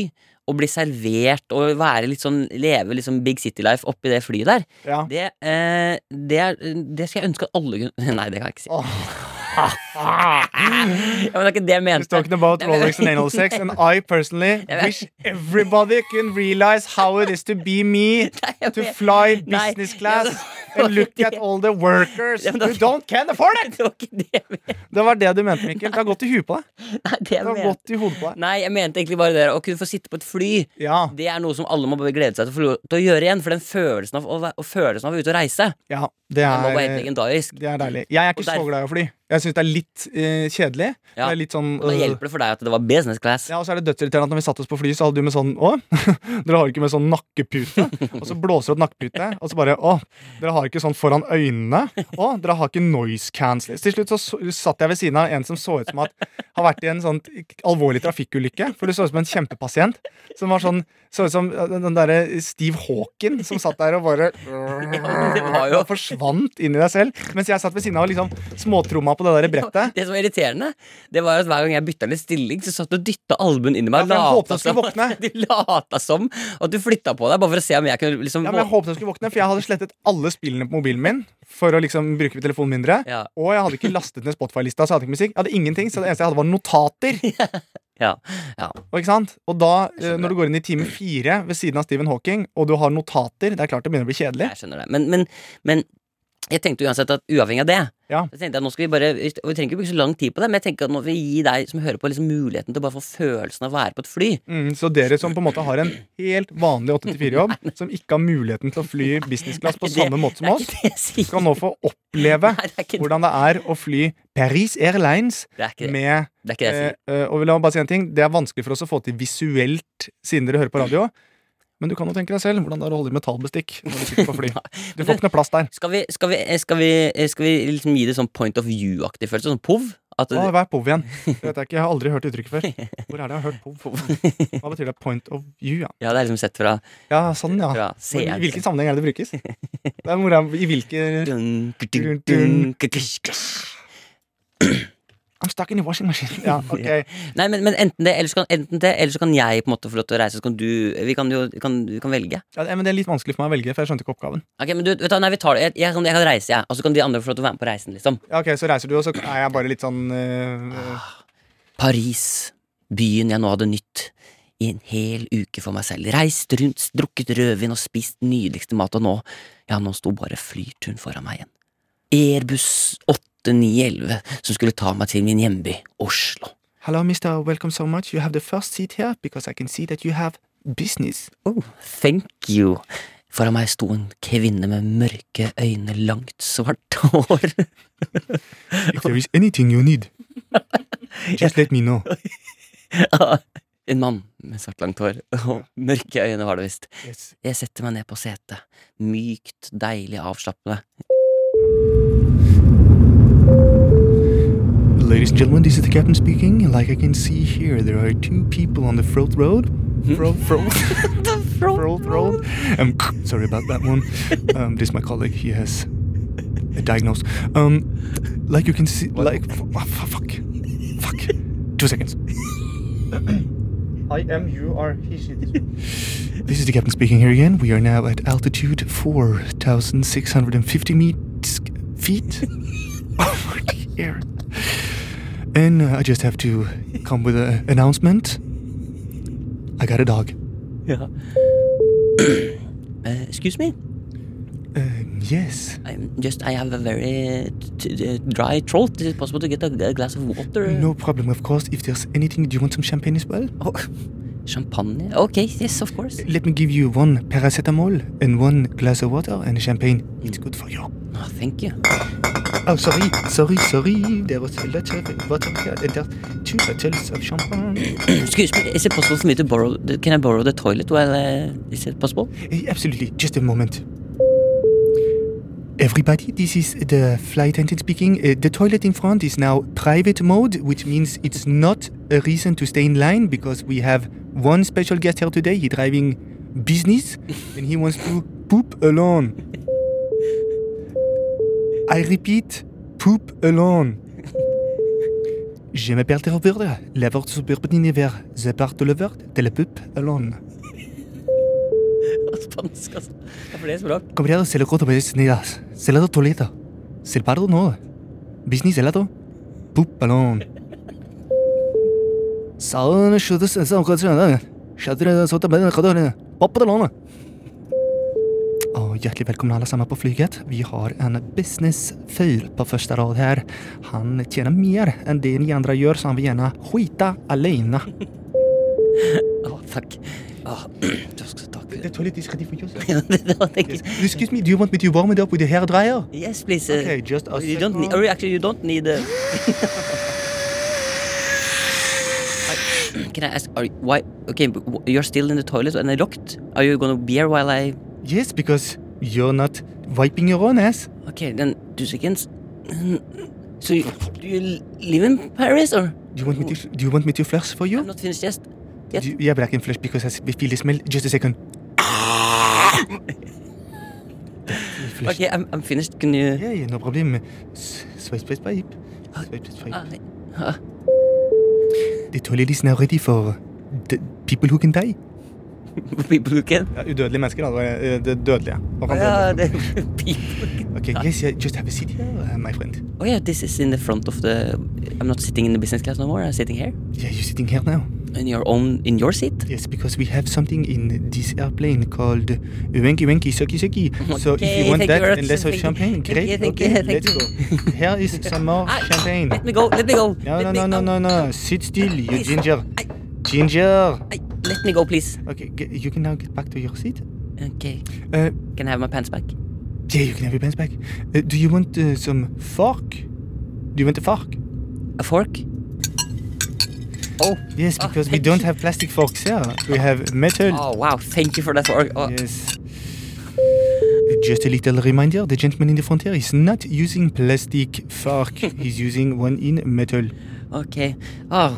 Speaker 3: og bli servert og være litt sånn, leve litt sånn Big City Life oppi det flyet der,
Speaker 2: Ja.
Speaker 3: det, eh, det, er, det skal jeg ønske at alle kunne Nei, det kan jeg ikke si.
Speaker 2: Åh.
Speaker 3: ja, men det er ikke det jeg
Speaker 2: He's
Speaker 3: mente.
Speaker 2: talking about Rolex and anal sex, and I personally wish everybody can realize how it is to be me,
Speaker 3: jeg
Speaker 2: to
Speaker 3: vet-
Speaker 2: fly
Speaker 3: Nei,
Speaker 2: business
Speaker 3: ja,
Speaker 2: class,
Speaker 3: det var
Speaker 2: and look
Speaker 3: ikke
Speaker 2: at
Speaker 3: det.
Speaker 2: all the workers
Speaker 3: Ja, men det
Speaker 2: who
Speaker 3: var-
Speaker 2: don't can afford it!
Speaker 3: Det var ikke
Speaker 2: Det var
Speaker 3: det jeg mente.
Speaker 2: det du mente, Mikkel. Det har gått i huet på deg.
Speaker 3: Nei, det
Speaker 2: Det
Speaker 3: jeg
Speaker 2: har
Speaker 3: mente.
Speaker 2: gått i hodet på deg.
Speaker 3: Nei, jeg mente egentlig bare det der, å kunne få sitte på et fly.
Speaker 2: Ja,
Speaker 3: Det er noe som alle må bare glede seg til å få lov til å gjøre igjen. For den følelsen av å, være- og følelsen av å være ute og reise
Speaker 2: ja, det
Speaker 3: Den var bare helt
Speaker 2: er
Speaker 3: legendarisk.
Speaker 2: det er deilig. Jeg er ikke
Speaker 3: Og der-
Speaker 2: så glad i å fly. Jeg syns det er litt eh, kjedelig.
Speaker 3: Ja.
Speaker 2: Det er litt sånn
Speaker 3: Og da
Speaker 2: øh,
Speaker 3: hjelper det for deg at det var business class.
Speaker 2: Ja, og så er det dødsirriterende at når vi satte oss på fly, så hadde du med sånn Å, dere har ikke med sånn nakkepute. Og så blåser du opp nakkepute, og så bare Å, dere har ikke sånn foran øynene. Å, dere har ikke noise cancel. Så Til slutt så, så satt jeg ved siden av en som så ut som at har vært i en sånn alvorlig trafikkulykke. For du så ut som en kjempepasient. Som var sånn Så ut som den derre Steve Hawken som satt der og bare
Speaker 3: Det var jo
Speaker 2: og forsvant inn i deg selv. Mens jeg satt ved siden av og liksom småtromma på det der brettet.
Speaker 3: Det som var irriterende, det var at hver gang jeg bytta litt stilling, så satt du og dytta albuen inn i
Speaker 2: Ja,
Speaker 3: meg.
Speaker 2: for jeg
Speaker 3: og
Speaker 2: håpet jeg
Speaker 3: som,
Speaker 2: skulle våkne.
Speaker 3: du lata som at du flytta på deg, bare for å se om jeg kunne liksom
Speaker 2: Ja, men Jeg håpet jeg skulle våkne, for jeg hadde slettet alle spillene på mobilen min. For å liksom bruke telefonen mindre
Speaker 3: Ja.
Speaker 2: Og jeg hadde ikke lastet ned Spotify-lista, så jeg hadde ikke musikk. Jeg hadde ingenting, så det eneste jeg hadde, var notater.
Speaker 3: ja, ja.
Speaker 2: Og, ikke sant? og da, eh, når du går inn i time fire ved siden av Stephen Hawking, og du har notater, det er klart det begynner å bli kjedelig.
Speaker 3: Jeg skjønner det. Men, men, men jeg tenkte uansett at uavhengig av det
Speaker 2: Ja.
Speaker 3: så tenkte jeg at nå skal Vi bare, vi trenger ikke bruke så lang tid på det, men jeg tenker at nå vil vi gi deg som hører på, liksom muligheten til å bare få følelsen av å være på et fly.
Speaker 2: Mm, så dere som på en måte har en helt vanlig 8-4-jobb, som ikke har muligheten til å fly business class på
Speaker 3: Det-
Speaker 2: samme måte som
Speaker 3: Det er
Speaker 2: oss,
Speaker 3: ikke det jeg sier.
Speaker 2: skal nå få oppleve
Speaker 3: Nei, det er ikke det,
Speaker 2: hvordan det er å fly Paris Airlines
Speaker 3: det, er ikke det.
Speaker 2: med
Speaker 3: det, er ikke det jeg sier.
Speaker 2: Eh, eh, og la meg bare si en ting Det er vanskelig for oss å få til visuelt, siden dere hører på radio. Men du kan jo tenke deg selv hvordan det er å holde i metallbestikk når du sitter på fly. Du får ikke noe plass der.
Speaker 3: Skal vi, skal vi, skal vi, skal vi liksom gi det sånn point of view-aktig følelse? Sånn POV? At
Speaker 2: Å, hva er POV igjen? Det vet jeg ikke, jeg har aldri hørt uttrykket før. Hvor er det jeg har hørt POV? Hva betyr det? Point of view, ja.
Speaker 3: Ja, det er liksom sett fra,
Speaker 2: Ja, sånn, ja.
Speaker 3: fra
Speaker 2: Hvor, I
Speaker 3: seeren.
Speaker 2: hvilken sammenheng er det det brukes? Det er mora i hvilke
Speaker 3: Dun, dun, dun, kukush, kush.
Speaker 2: I'm stuck in a washing machine. Ja, ok.
Speaker 3: Nei, men, men enten det, eller så kan, enten det, eller så kan jeg på en måte få lov til å reise, så kan du Vi kan jo vi kan, vi kan velge.
Speaker 2: Ja, men det er litt vanskelig for meg å velge, for jeg skjønte ikke oppgaven.
Speaker 3: Ok, men du, vet du, hva, nei, vi tar det. Jeg, jeg, kan, jeg kan reise, jeg. Og så kan de andre få lov til å være med på reisen, liksom.
Speaker 2: Ja, ok, Så reiser du, og så er jeg bare litt sånn eh,
Speaker 3: Paris. Byen jeg nå hadde nytt i en hel uke for meg selv. Reist rundt, drukket rødvin og spist nydeligste mat, og nå Ja, nå sto bare flyturen foran meg igjen. Airbus 8911, som skulle ta meg til min hjemby, Oslo.
Speaker 2: Hello, mister. Welcome so much. You have the first seat here because I can see that you have business.
Speaker 3: Oh, thank you. Foran meg sto en kvinne med mørke øyne, langt, svart hår.
Speaker 2: If there is anything you need, just let me know.
Speaker 3: Ah, en mann med svart, langt hår og mørke øyne, var det visst. Jeg setter meg ned på setet. Mykt, deilig, avslappende.
Speaker 2: Ladies and gentlemen, this is the captain speaking. Like I can see here, there are two people on the front road. Front, front, Hmm? front road. Um, sorry about that one. Um, this is my colleague. He has a diagnosis. Um, like you can see, like f- f- fuck, fuck. Two seconds. I am. You are. He. She. This is the captain speaking here again. We are now at altitude 4,650 meters, feet. oh my dear. And uh, I just have to come with an announcement. I got a dog.
Speaker 3: Eh, excuse me,
Speaker 2: Um, yes.
Speaker 3: I'm just, I have a very t t dry throat. Is it possible to get a, a glass of water?
Speaker 2: No problem, of course. If there's anything, do you want some champagne as well?
Speaker 3: Oh, champagne? Okay, yes, of course.
Speaker 2: Let me give you one paracetamol and one glass of water and champagne. It's good for you.
Speaker 3: Oh, thank you.
Speaker 2: Oh, sorry, sorry, sorry. There was a lot of water here and there's two bottles of champagne.
Speaker 3: Excuse me, is it possible for me to borrow, the- can I borrow the toilet while, uh, is it possible?
Speaker 2: Eh, Absolutely. Just a moment. Everybody, this is the flight attendant speaking. Uh, the toilet in front is now private mode, which means it's not a reason to stay in line because we have one special guest here today. He's driving business and he wants to poop alone. I repeat, poop alone. Je m'appelle Robert, la porte suburban univers. The part le word de la poop alone.
Speaker 3: Spansk, altså. Ja, for det er så bra.
Speaker 2: Comprado se lo coto veces nidas. Se lado toleto. Se el pardo no. Business se lado. Poop alone. Salon shudas en son coto alone. Shadra sota med coto alone. Poppet alone. Och hjärtligt välkomna alla samman på flyget. Vi har en business-fyr på första rad här. Han tjänar mer än det ni andra gör så han vill gärna skita alena.
Speaker 3: Å, fuck.
Speaker 2: Ah,
Speaker 3: Åh, tusen takk.
Speaker 2: Det tar lite tid för just
Speaker 3: Det var tenkt.
Speaker 2: Excuse me, do you want me to warm it up with the hair dryer?
Speaker 3: Yes, please. uh,
Speaker 2: Okay, just a
Speaker 3: you don't need,
Speaker 2: second.
Speaker 3: or actually, you don't need. Uh, Can I ask? Are you, why? Okay, but wh- you're still in the toilet and I locked. Are you gonna be here while I?
Speaker 2: Yes, because you're not wiping your own ass.
Speaker 3: Okay, then two seconds. So, you, do you live in Paris or?
Speaker 2: Do you want me to? Do you want me to flush for
Speaker 3: I'm
Speaker 2: you?
Speaker 3: not finished yet.
Speaker 2: Do you- yeah, but I can flush because I s- we feel the smell. Just a second. Flush.
Speaker 3: Okay, I'm, I'm finished. Can you?
Speaker 2: Yeah, yeah, no problem. S- Swipe, swipe, swipe. Swipe, swipe, swipe.
Speaker 3: Ah, ah.
Speaker 2: The toilet is now ready for the people who can die.
Speaker 3: people who can.
Speaker 2: Ja, udødelige mennesker, da. Eh, Det er dødelige.
Speaker 3: Yeah, the people.
Speaker 2: Okay,
Speaker 3: Ah.
Speaker 2: yes, yeah, just have a seat here, uh, my friend.
Speaker 3: Oh yeah, this is in the front of the. I'm not sitting in the business class no more. I'm sitting here
Speaker 2: Yeah, you're sitting here now.
Speaker 3: in your own in your seat.
Speaker 2: Yes, because we have something in this airplane called Winky Winky Sucky Sucky. So if
Speaker 3: Okay,
Speaker 2: you want
Speaker 3: thank you
Speaker 2: that
Speaker 3: very
Speaker 2: and
Speaker 3: much.
Speaker 2: less of
Speaker 3: Thank you.
Speaker 2: champagne,
Speaker 3: Thank
Speaker 2: great.
Speaker 3: you, thank you,
Speaker 2: okay,
Speaker 3: thank
Speaker 2: let's go. Here is some more
Speaker 3: Ah,
Speaker 2: champagne.
Speaker 3: Let me go. Let me go.
Speaker 2: No,
Speaker 3: let
Speaker 2: no,
Speaker 3: me,
Speaker 2: no, no,
Speaker 3: oh,
Speaker 2: no, no. Sit still, you
Speaker 3: Please.
Speaker 2: ginger.
Speaker 3: I-
Speaker 2: Ginger.
Speaker 3: I, let me go, please.
Speaker 2: Okay, g- you can now get back to your seat.
Speaker 3: Okay.
Speaker 2: Uh,
Speaker 3: Can I have my pants back?
Speaker 2: yeah, you can have your pants back. Uh, do you want uh, some fork? Do you want a fork?
Speaker 3: A fork? Oh.
Speaker 2: Yes,
Speaker 3: Oh,
Speaker 2: because we
Speaker 3: thank
Speaker 2: don't
Speaker 3: you.
Speaker 2: have plastic forks here. We have metal.
Speaker 3: Oh wow! Thank you for that fork. Oh,
Speaker 2: Yes. Just a little reminder the gentleman in the frontier is not using plastic fork, he's using one in metal.
Speaker 3: Okay. Oh,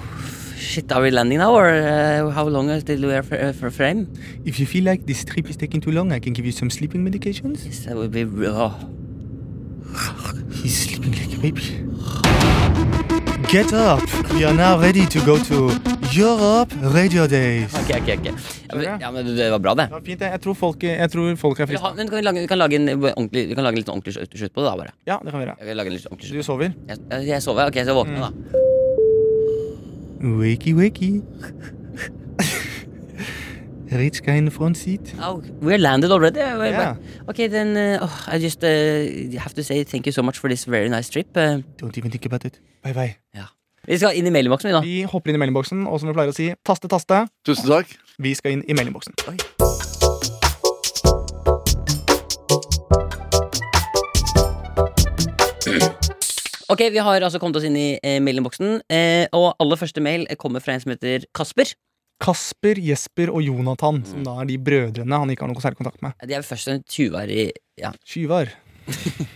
Speaker 3: shit. Are we landing now, or uh, how long until we are for, uh, for frame?
Speaker 2: If you feel like this trip is taking too long, I can give you some sleeping medications.
Speaker 3: Yes, that would be. Oh.
Speaker 2: He's sleeping like a baby. Get up! We are now ready to go to Europe Radio Days.
Speaker 3: Ok, ok, ok. Ja, men, ja, men det var bra, det.
Speaker 2: Ja, fint, jeg tror folk, jeg tror folk er
Speaker 3: Vi,
Speaker 2: frista.
Speaker 3: har, men kan vi, lage, vi, kan lage en eh, ordentlig, vi kan lage litt ordentlig slutt- slutt på det, da, bare.
Speaker 2: Ja, det kan vi gjøre.
Speaker 3: Jeg vil lage en litt ordentlig
Speaker 2: Du Mm.
Speaker 3: slutt.
Speaker 2: sover?
Speaker 3: Jeg, jeg sover. Ok, så våkner jeg, da.
Speaker 2: Wakey, wakey. Rich kind front seat.
Speaker 3: Oh, we're landed already. We're
Speaker 2: Yeah.
Speaker 3: back. Ok, then uh, oh, I just uh, have to say thank you so much for this very nice trip. Uh,
Speaker 2: Don't even think about it. Bye bye.
Speaker 3: ja. Vi skal inn i mailboksen, vi,
Speaker 2: Vi hopper inn i mellomboksen, og som vi pleier å si, taste, taste.
Speaker 8: Tusen takk.
Speaker 2: Vi skal inn i mellomboksen.
Speaker 3: da. Ok, Vi har altså kommet oss inn i eh, mailinnboksen, eh, og aller første mail kommer fra en som heter Kasper.
Speaker 2: Kasper, Jesper og Jonathan,
Speaker 8: Mm.
Speaker 2: som da er de brødrene han ikke har noe særlig kontakt med.
Speaker 3: De er først en tjuver i ja,
Speaker 2: Skyvar.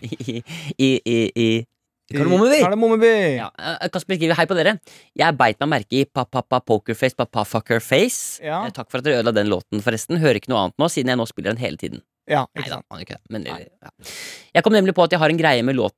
Speaker 3: i, i, i, i Kardemommeby.
Speaker 2: Kardemommeby.
Speaker 3: Ja, eh, Kasper skriver hei på dere. Jeg beit meg merke i pa-pa-pa pokerface, pa-pa-fuckerface.
Speaker 2: Ja.
Speaker 3: Eh, Takk for at dere ødela den låten, forresten. Hører ikke noe annet nå, siden jeg nå spiller den hele tiden.
Speaker 2: Ja,
Speaker 3: Nei
Speaker 2: ikke
Speaker 3: da,
Speaker 2: sant.
Speaker 3: han gjør ikke det. Men, ja. Jeg kom nemlig på at jeg har en greie med låta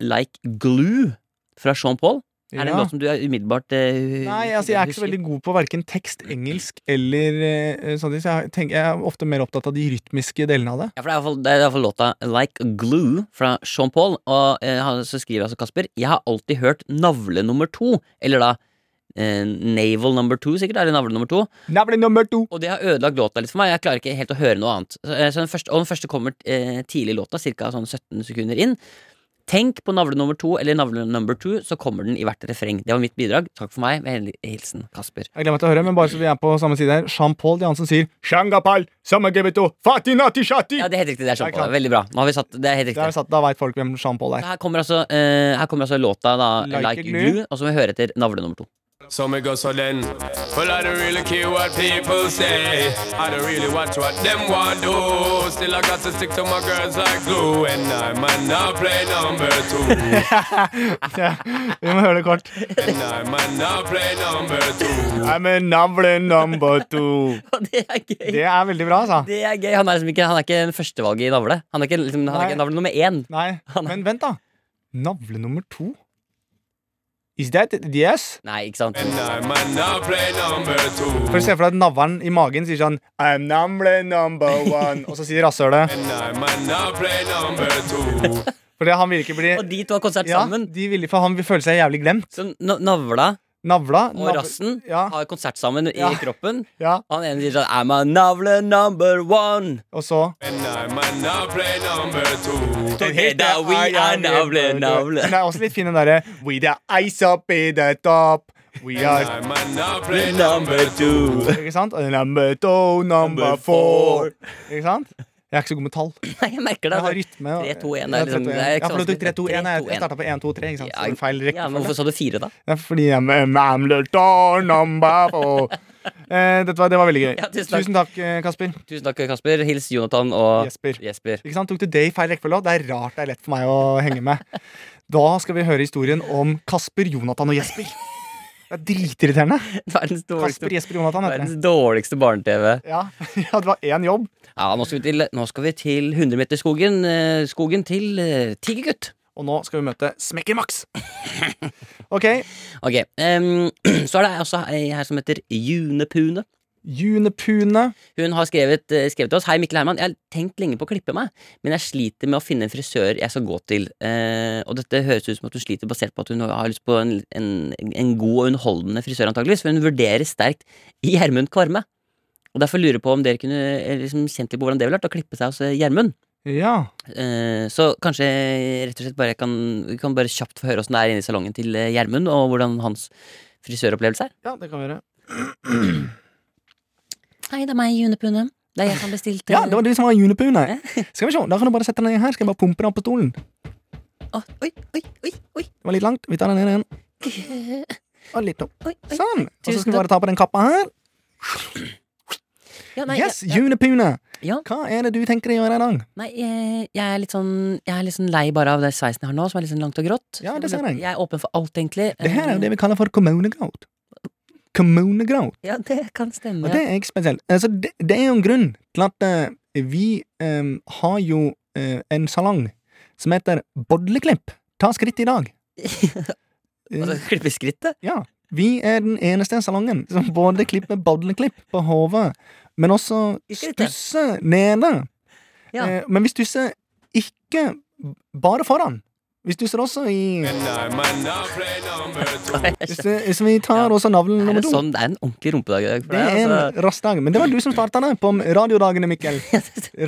Speaker 3: Like Glue fra Sean Paul. Er det en
Speaker 2: Ja.
Speaker 3: låt som du er umiddelbart eh,
Speaker 2: Nei, altså, jeg er ikke så
Speaker 3: husker?
Speaker 2: veldig god på verken tekst, engelsk eller eh, sånne ting, så jeg, tenker, jeg er ofte mer opptatt av de rytmiske delene av det.
Speaker 3: Ja, for det er i hvert fall- det er i hvert fall låta Like Glue fra Sean Paul. Og eh, han- så skriver altså Kasper Jeg har alltid hørt navle nummer to. Eller da eh, navel number two, sikkert. Eller navle nummer to.
Speaker 2: Navle nummer to!
Speaker 3: Og det har ødelagt låta litt for meg. Jeg klarer ikke helt å høre noe annet. Så, eh, så den første, og den første kommer eh, tidlig i låta, ca. Sånn 17 sekunder inn. Tenk på navle nummer to eller navle number two, så kommer den i hvert refreng. Det var mitt bidrag. Takk for meg. Med henlig- hilsen Kasper.
Speaker 2: Jeg glemmer til å høre, men bare så vi er på samme side her. Jean-Paul de Hansen sier Shangapal, sammagebeto, fatinati shati!
Speaker 3: Ja, det er helt riktig. Det er
Speaker 2: Det
Speaker 3: Sean
Speaker 2: er
Speaker 3: Paul. Veldig bra. Nå har vi satt Det er helt
Speaker 2: Der
Speaker 3: riktig.
Speaker 2: satt, da veit folk hvem Jean-Paul er.
Speaker 3: Her kommer, altså, eh, her kommer altså låta da,
Speaker 2: Like
Speaker 3: Like,
Speaker 2: a
Speaker 3: Glue,
Speaker 2: Glue,
Speaker 3: og så må vi høre etter navle nummer to.
Speaker 8: Some go so then. Well, I don't really care what people say. I don't really watch what them want do. Still, I got to stick to my girls like glue. And I might not play number two.
Speaker 2: Ja, vi må høre det kort.
Speaker 8: and I might not play number two.
Speaker 2: I'm a number, number two.
Speaker 3: Og det er gøy.
Speaker 2: Det er veldig bra, altså.
Speaker 3: Det er gøy. Han er liksom ikke, han er ikke førstevalget i navle. Han er ikke, liksom, han er
Speaker 2: Nei.
Speaker 3: ikke navle nummer én.
Speaker 2: Nei, men vent, da. Navle nummer to? Is that yes?
Speaker 3: Nei, ikke sant?
Speaker 8: And I might not play number two.
Speaker 2: For Se for deg at navlen i magen sier sånn I'm number, number one. Og så sier rasshølet
Speaker 8: And I might not play number two.
Speaker 2: Fordi han vil ikke bli
Speaker 3: Og de to har konsert
Speaker 2: ja,
Speaker 3: sammen.
Speaker 2: de vil, for han vil føle seg jævlig glemt.
Speaker 3: Så na- navla
Speaker 2: Navla
Speaker 3: og
Speaker 2: nav-
Speaker 3: rassen
Speaker 2: Ja,
Speaker 3: har konsert sammen i
Speaker 2: Ja.
Speaker 3: kroppen.
Speaker 2: ja.
Speaker 3: Han ene sier sånn I'm a navle number one.
Speaker 2: Og så
Speaker 8: And I might not play number two.
Speaker 3: Together we are navle, navle.
Speaker 2: Den er også litt fin, den derre With the ice up in the top. We are
Speaker 8: I might not play number two.
Speaker 2: Ikke sant? Og Number two, number four. Ikke sant? Jeg er ikke så god med tall.
Speaker 3: Nei, jeg merker det.
Speaker 2: Jeg har rytme. og-
Speaker 3: 3-2-1
Speaker 2: Ja,
Speaker 3: er
Speaker 2: 3-2-1.
Speaker 3: liksom det er ikke
Speaker 2: Ja, for du
Speaker 3: vanskelig.
Speaker 2: tok 3-2-1. Jeg, jeg
Speaker 3: 3-2-1.
Speaker 2: starta på 1-2-3, ikke sant? Så
Speaker 3: Ja,
Speaker 2: det er feil
Speaker 3: Ja, men
Speaker 2: rekkefølge.
Speaker 3: hvorfor sa du fire, da?
Speaker 2: Det er fordi jeg I'm a door number four. Eh, dette var, det var veldig gøy.
Speaker 3: Ja, tusen takk.
Speaker 2: Tusen takk, eh, Kasper.
Speaker 3: Tusen takk, Kasper. Hils Jonathan og
Speaker 2: Jesper.
Speaker 3: Jesper.
Speaker 2: Ikke sant? Tok du det i feil rekkefølge også? Det er rart det er lett for meg å henge med. Da skal vi høre historien om Kasper, Jonathan og Jesper. Det er dritirriterende.
Speaker 3: Verdens
Speaker 2: Kasper,
Speaker 3: dårligste,
Speaker 2: Jesper, Jonathan heter
Speaker 3: verdens
Speaker 2: det.
Speaker 3: dårligste barne-TV.
Speaker 2: Ja, ja, det var én jobb.
Speaker 3: Ja, nå skal vi til, nå skal vi til 100-meterskogen. eh, Skogen til eh, Tigergutt.
Speaker 2: Og nå skal vi møte Smekker Max. Ok,
Speaker 3: Ok, em, Så er det også ei her som heter June Pune.
Speaker 2: Junepune.
Speaker 3: Hun har skrevet, eh, skrevet til oss Hei, Mikkel Herman. Jeg har tenkt lenge på å klippe meg, men jeg sliter med å finne en frisør jeg skal gå til. Eh, og dette høres ut som at hun sliter basert på at hun har lyst på en, en, en god og underholdende frisør, antageligvis. For hun vurderer sterkt Gjermund Kvarme. Og derfor lurer jeg på om dere kunne eh, liksom, kjent litt på hvordan det ville vært å klippe seg hos eh, Gjermund.
Speaker 2: Ja.
Speaker 3: Eh, så kanskje rett og slett bare jeg kan, vi kan bare kjapt få høre åssen det er inne i salongen til eh, Gjermund, og hvordan hans frisøropplevelse er.
Speaker 2: ja, det kan vi gjøre.
Speaker 3: Hei, det er meg, June Pune. Det er jeg som eh, bestilte
Speaker 2: Ja, det var du som var junipune. Skal vi se, da kan du bare sette deg ned her. Skal jeg bare pumpe deg opp på stolen. Det
Speaker 3: Å, Oi, oi, oi, oi.
Speaker 2: var litt langt. Vi tar deg ned igjen. Og litt opp.
Speaker 3: Oi, oi.
Speaker 2: Sånn. Og så
Speaker 3: Tusen
Speaker 2: skal vi bare ta på den kappa her.
Speaker 3: Ja, nei,
Speaker 2: Yes,
Speaker 3: jeg,
Speaker 2: junipune.
Speaker 3: Ja.
Speaker 2: Hva er det du tenker å gjøre i dag?
Speaker 3: nei, jeg, jeg, er litt sånn, jeg er litt sånn lei bare av det sveisen jeg har nå, som er litt sånn langt og grått.
Speaker 2: Ja, det ser jeg.
Speaker 3: Jeg er åpen for alt, egentlig. Eh,
Speaker 2: Det her er jo det vi kaller for kommunegrout. Kommunegrout.
Speaker 3: Ja, det kan stemme.
Speaker 2: Og det er ikke spesielt. Altså, det, det er jo en grunn til at eh, vi em, har jo eh, en salong som heter Bodleklipp. Ta skritt i dag.
Speaker 3: Altså, klippe skrittet?
Speaker 2: Ja. Vi er den eneste salongen som både klipper bodleklipp på hodet, men også
Speaker 3: I skrittet.
Speaker 2: stusser nede.
Speaker 3: Ja.
Speaker 2: Eh, men vi stusser ikke bare foran. Vi stusser også i
Speaker 8: And I might not play number two.
Speaker 2: hvis vi- Så vi tar også navlen
Speaker 3: Er
Speaker 2: nummer
Speaker 3: det,
Speaker 2: to.
Speaker 3: sånn, det er en ordentlig rumpedag i dag for
Speaker 2: Det er
Speaker 3: deg. Altså.
Speaker 2: en rastdag. Men det var du som starta det på radiodagene, Mikkel.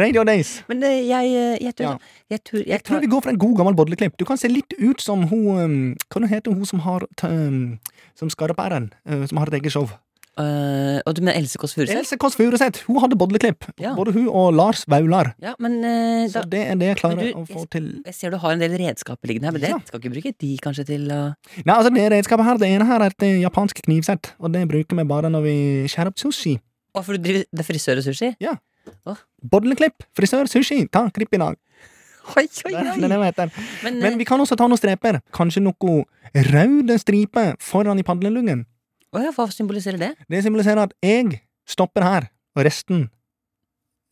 Speaker 2: Radio Days.
Speaker 3: Men eh, jeg, eh, jeg tror
Speaker 2: Ja.
Speaker 3: Jeg tror, jeg
Speaker 2: Jeg tror
Speaker 3: tar,
Speaker 2: vi går for en god gammel bodleklipp. Du kan se litt ut som hun um, Hva hun heter hun som har ta- um, Som Skarreperren, uh, som har et eget show.
Speaker 3: Eh, og du mener Else Kåss Furuseth?
Speaker 2: Else Kåss Furuseth. Hun hadde bodleklipp.
Speaker 3: Ja.
Speaker 2: Både hun og Lars Vaular.
Speaker 3: Ja, men eh,
Speaker 2: Så
Speaker 3: da,
Speaker 2: det er det jeg klarer
Speaker 3: Men du,
Speaker 2: å få
Speaker 3: jeg-
Speaker 2: til.
Speaker 3: jeg ser du har en del redskaper liggende her, men det
Speaker 2: Ja.
Speaker 3: skal ikke bruke de kanskje til å
Speaker 2: Nei, altså Det redskapet her, det ene her er et eh, japansk knivsett, og det bruker vi bare når vi skjærer opp sushi.
Speaker 3: Å, for du driver det er frisør og sushi?
Speaker 2: Bodleklipp, frisør, sushi, ta klipp i dag.
Speaker 3: Oi, oi,
Speaker 2: Det
Speaker 3: oi.
Speaker 2: er det jeg heter.
Speaker 3: Men, eh,
Speaker 2: Men vi kan også ta noen streper. Kanskje noe røde striper foran i padleluggen.
Speaker 3: eh, åja, hva symboliserer det?
Speaker 2: Det symboliserer at jeg stopper her, og resten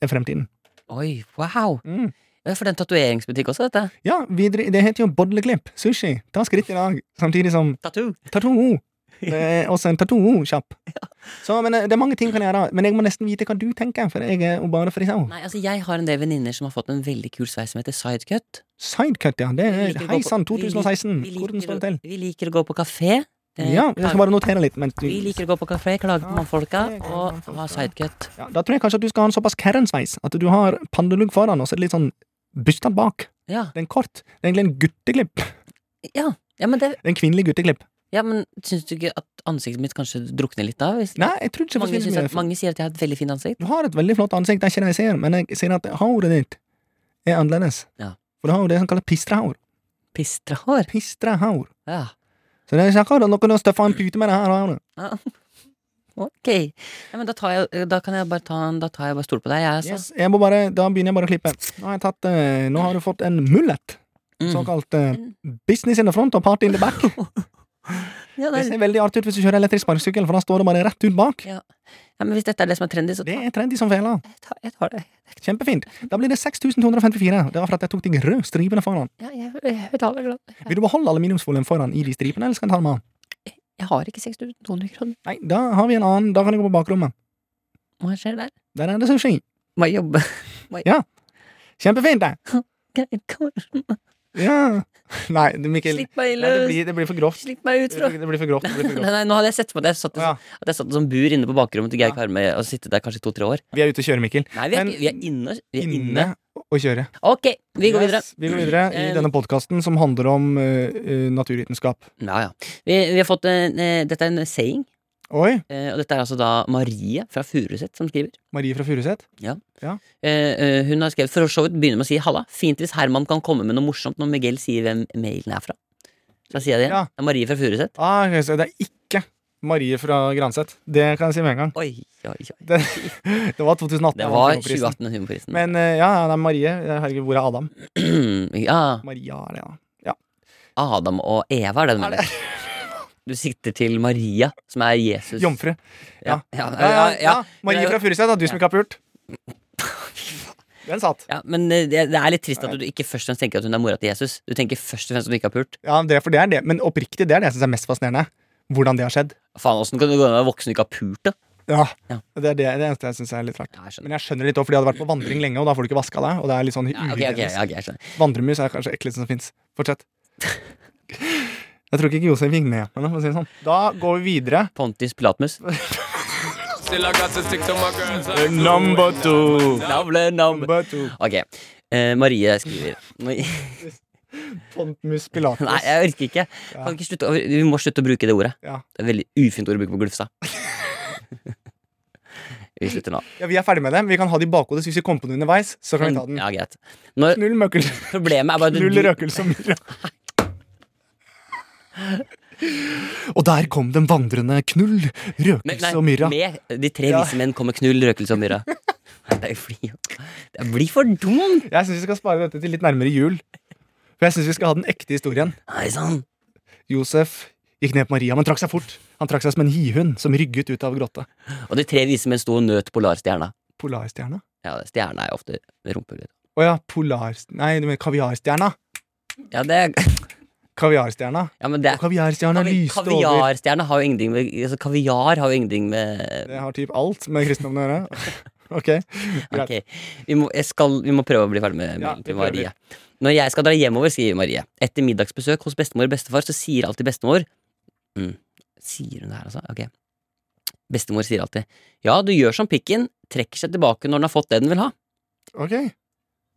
Speaker 2: er fremtiden.
Speaker 3: Oi, wow.
Speaker 2: Mm.
Speaker 3: Ja, for det er en tatoveringsbutikk også, dette.
Speaker 2: Ja, videre, det heter jo bodleklipp, sushi. Ta skritt i dag, samtidig som
Speaker 3: Tattoo.
Speaker 2: Tattoo. Det er også en tattoo-kjapp. Så, men eh, Det er mange ting kan jeg gjøre, men jeg må nesten vite hva du tenker. For jeg er jo bare frisør.
Speaker 3: Nei, altså Jeg har en del venninner som har fått en veldig kul sveis som heter sidecut.
Speaker 2: Sidecut, ja. Det
Speaker 3: Vi
Speaker 2: er
Speaker 3: liker å gå
Speaker 2: Hei
Speaker 3: på-
Speaker 2: sann,
Speaker 3: vi lik-
Speaker 2: 2016.
Speaker 3: vi
Speaker 2: Hvordan
Speaker 3: liker
Speaker 2: Mm, står
Speaker 3: å-
Speaker 2: det til?
Speaker 3: Vi liker å gå på kafé. Eh,
Speaker 2: Ja, jeg skal bare notere litt. Mens du,
Speaker 3: Vi liker å gå på kafé, klage på mannfolka
Speaker 2: Kafé, klage på
Speaker 3: og
Speaker 2: mannfolka.
Speaker 3: ha sidecut.
Speaker 2: ja, da tror jeg kanskje at du skal ha en såpass Karen-sveis at du har pandelugg foran og så er det litt sånn bustad bak.
Speaker 3: Ja,
Speaker 2: Det er en kort. Det er egentlig en gutteklipp.
Speaker 3: ja. ja, men, det,
Speaker 2: Det er En kvinnelig gutteklipp.
Speaker 3: ja, men syns du ikke at ansiktet mitt kanskje drukner litt da? Hvis,
Speaker 2: Nei, jeg tror ikke det
Speaker 3: mange,
Speaker 2: forsvinner
Speaker 3: syns
Speaker 2: så
Speaker 3: at,
Speaker 2: mye.
Speaker 3: mange sier at jeg har et veldig fint ansikt.
Speaker 2: Du har et veldig flott ansikt, det er ikke det jeg ser, men jeg ser at håret ditt er annerledes.
Speaker 3: Ja.
Speaker 2: For du har jo det som kalles pistrehår.
Speaker 3: Pistrahår.
Speaker 2: Pistrehår.
Speaker 3: Ja.
Speaker 7: Så det er ikke akkurat noe å støffe en pute med det her.
Speaker 3: Ah, Ok. Ja, men da, tar jeg, da kan jeg bare ta en Da tar jeg bare stol på deg, jeg, altså.
Speaker 7: Yes, jeg må bare, da begynner jeg bare å klippe. Nå har, jeg tatt, eh, nå har du fått en mullet.
Speaker 3: Mm.
Speaker 7: Såkalt eh, business in the front og party in the back.
Speaker 3: Ja,
Speaker 7: Det
Speaker 3: det er,
Speaker 7: ser veldig artig ut hvis du kjører elektrisk sparkesykkel, for da står det bare rett ut bak.
Speaker 3: ja, men hvis dette er det som er trendy, så
Speaker 7: Det
Speaker 3: tar
Speaker 7: er trendy som fela.
Speaker 3: jeg, tar, jeg tar det.
Speaker 7: Kjempefint. Da blir det 6254. Det var for at jeg tok de røde stripene foran.
Speaker 3: Ja, jeg, jeg tar det glad.
Speaker 7: Vil du beholde aluminiumsfolien foran i de stripene, eller skal jeg ta dem av?
Speaker 3: Jeg har ikke 6200 kroner.
Speaker 7: Nei, da har vi en annen. Da kan jeg gå på bakrommet.
Speaker 3: Hva skjer der?
Speaker 7: Der er det sushi.
Speaker 3: Må jeg jobbe?
Speaker 7: Kjempefint, det!
Speaker 3: Slipp
Speaker 7: Ja. Nei, det- Mikkel.
Speaker 3: meg
Speaker 7: Nei, det,
Speaker 3: løs!
Speaker 7: blir, det blir for grovt.
Speaker 3: Slipp meg ut
Speaker 7: Det
Speaker 3: fra
Speaker 7: blir det blir for grovt. Det blir for
Speaker 3: Nei,
Speaker 7: grovt.
Speaker 3: nei, nå hadde jeg sett for meg at jeg satt,
Speaker 7: Ja.
Speaker 3: at jeg satt som bur inne på bakrommet til Geir Karmøy og sittet der kanskje i to-tre år.
Speaker 7: Vi er ute og kjører, Mikkel.
Speaker 3: Nei, vi er,
Speaker 7: Men-
Speaker 3: ikke, vi er inne. Vi er inne.
Speaker 7: Inne og kjøre.
Speaker 3: Ok, vi går videre.
Speaker 7: Yes, vi går videre i
Speaker 3: Eh,
Speaker 7: denne podkasten som handler om eh, eh, naturvitenskap.
Speaker 3: Ja, ja. Vi, vi har fått en, eh, Dette er en saying,
Speaker 7: Oi!
Speaker 3: eh, og dette er altså da Marie fra Furuset som skriver.
Speaker 7: Marie fra Furuset.
Speaker 3: Eh, eh, Hun har skrevet For så vidt begynner med å si halla. Fint hvis Herman kan komme med noe morsomt når Miguel sier hvem mailen er fra. Så sier jeg det igjen.
Speaker 7: Ja.
Speaker 3: Det er Marie fra Furuset.
Speaker 7: Ah, ok, så det er ikke Marie fra Granseth. Det kan jeg si med en gang.
Speaker 3: Oi, oi, oi.
Speaker 7: Det, det var 2018.
Speaker 3: Det
Speaker 7: han
Speaker 3: var
Speaker 7: fikk prisen.
Speaker 3: 2018 og humorprisen.
Speaker 7: Men eh, ja, ja, det er Marie. Eh, Herregud, hvor er Adam?
Speaker 3: ja,
Speaker 7: Maria er det, da.
Speaker 3: Adam og Eva er det du mener. Du sikter til Maria, som er Jesus.
Speaker 7: Jomfru.
Speaker 3: Ja, ja,
Speaker 7: Ja, ja, ja.
Speaker 3: Det
Speaker 7: Marie
Speaker 3: er jo-
Speaker 7: fra Furuset, da. Du som ikke har pult. Den satt.
Speaker 3: ja, men eh, det, det er litt trist at du ikke først og fremst tenker at hun er mora til Jesus. Du tenker først og fremst at hun ikke har pult.
Speaker 7: Ja, det, for det er det. Men oppriktig, det er det jeg syns er mest fascinerende. Hvordan det har skjedd.
Speaker 3: Faen, åssen kan du gå an å være voksen og ikke ha pult, da?
Speaker 7: Ja,
Speaker 3: Ja.
Speaker 7: Det er det, det eneste jeg syns er litt rart.
Speaker 3: Ja, jeg skjønner.
Speaker 7: Men jeg skjønner litt òg, fordi jeg hadde vært på vandring lenge, og da får du ikke vaska deg. Og det er litt sånn
Speaker 3: Ja, ok, ok,
Speaker 7: uhygienisk.
Speaker 3: ja, ok, jeg skjønner.
Speaker 7: Vandremus er kanskje det ekleste som fins. Fortsett. Jeg tror ikke Josef gikk med på det. for å si det sånn. Da går vi videre.
Speaker 3: Pontus Pilatmus.
Speaker 8: Still I got to stick to my girls like glue. and
Speaker 7: two.
Speaker 3: Navle, navle.
Speaker 7: Number two.
Speaker 3: Ok. eh, Marie skriver Nei,
Speaker 7: Pontmus Pilatus.
Speaker 3: jeg orker ikke. Kan vi ikke slutte, å- vi må slutte å bruke det ordet.
Speaker 7: Ja.
Speaker 3: Det er et veldig ufint ord å bruke på Glufstad. vi slutter nå.
Speaker 7: Ja, vi er ferdig med det. men Vi kan ha det i bakhodet, så hvis vi kommer på det underveis, så kan vi ta den.
Speaker 3: Ja, greit. Når,
Speaker 7: Null møkkel,
Speaker 3: problemet er bare at
Speaker 7: null
Speaker 3: du
Speaker 7: røkelse og myrra. Og der kom den vandrende knull,
Speaker 3: Men,
Speaker 7: røkelse
Speaker 3: nei,
Speaker 7: og myrra.
Speaker 3: Med de tre
Speaker 7: Ja.
Speaker 3: vise menn kommer knull, røkelse og myrra. Det blir, det blir for dumt!
Speaker 7: Jeg syns vi skal spare dette til litt nærmere jul. For jeg syns vi skal ha den ekte historien.
Speaker 3: Nei sånn. sann.
Speaker 7: Josef gikk ned på Maria, men trakk seg fort. Han trakk seg som en hihund som rygget ut av grotta.
Speaker 3: Og de tre vise menn sto og nøt polarstjerna.
Speaker 7: Polarstjerna?
Speaker 3: Ja, stjerna er jo ofte rumpehullet.
Speaker 7: Å ja, polar... Nei, du mener kaviarstjerna.
Speaker 3: Ja, det,
Speaker 7: Kaviarstjerna.
Speaker 3: ja, men det
Speaker 7: Og kaviarstjerna
Speaker 3: Kavi-
Speaker 7: lyste over.
Speaker 3: Kaviarstjerna har jo ingenting med altså, Kaviar har jo ingenting med
Speaker 7: Det har typ alt med kristendommen å gjøre. Ok. greit.
Speaker 3: Ok, vi må, jeg skal, vi må prøve å bli ferdig med
Speaker 7: Ja,
Speaker 3: mailen
Speaker 7: vi
Speaker 3: til
Speaker 7: prøver.
Speaker 3: Marie. Når jeg skal dra hjemover, skriver Marie, etter middagsbesøk hos bestemor og bestefar, så sier alltid bestemor mm, Sier hun det her, altså? Ok. Bestemor sier alltid Ja, du gjør som pikken, trekker seg tilbake når den har fått det den vil ha.
Speaker 7: Ok.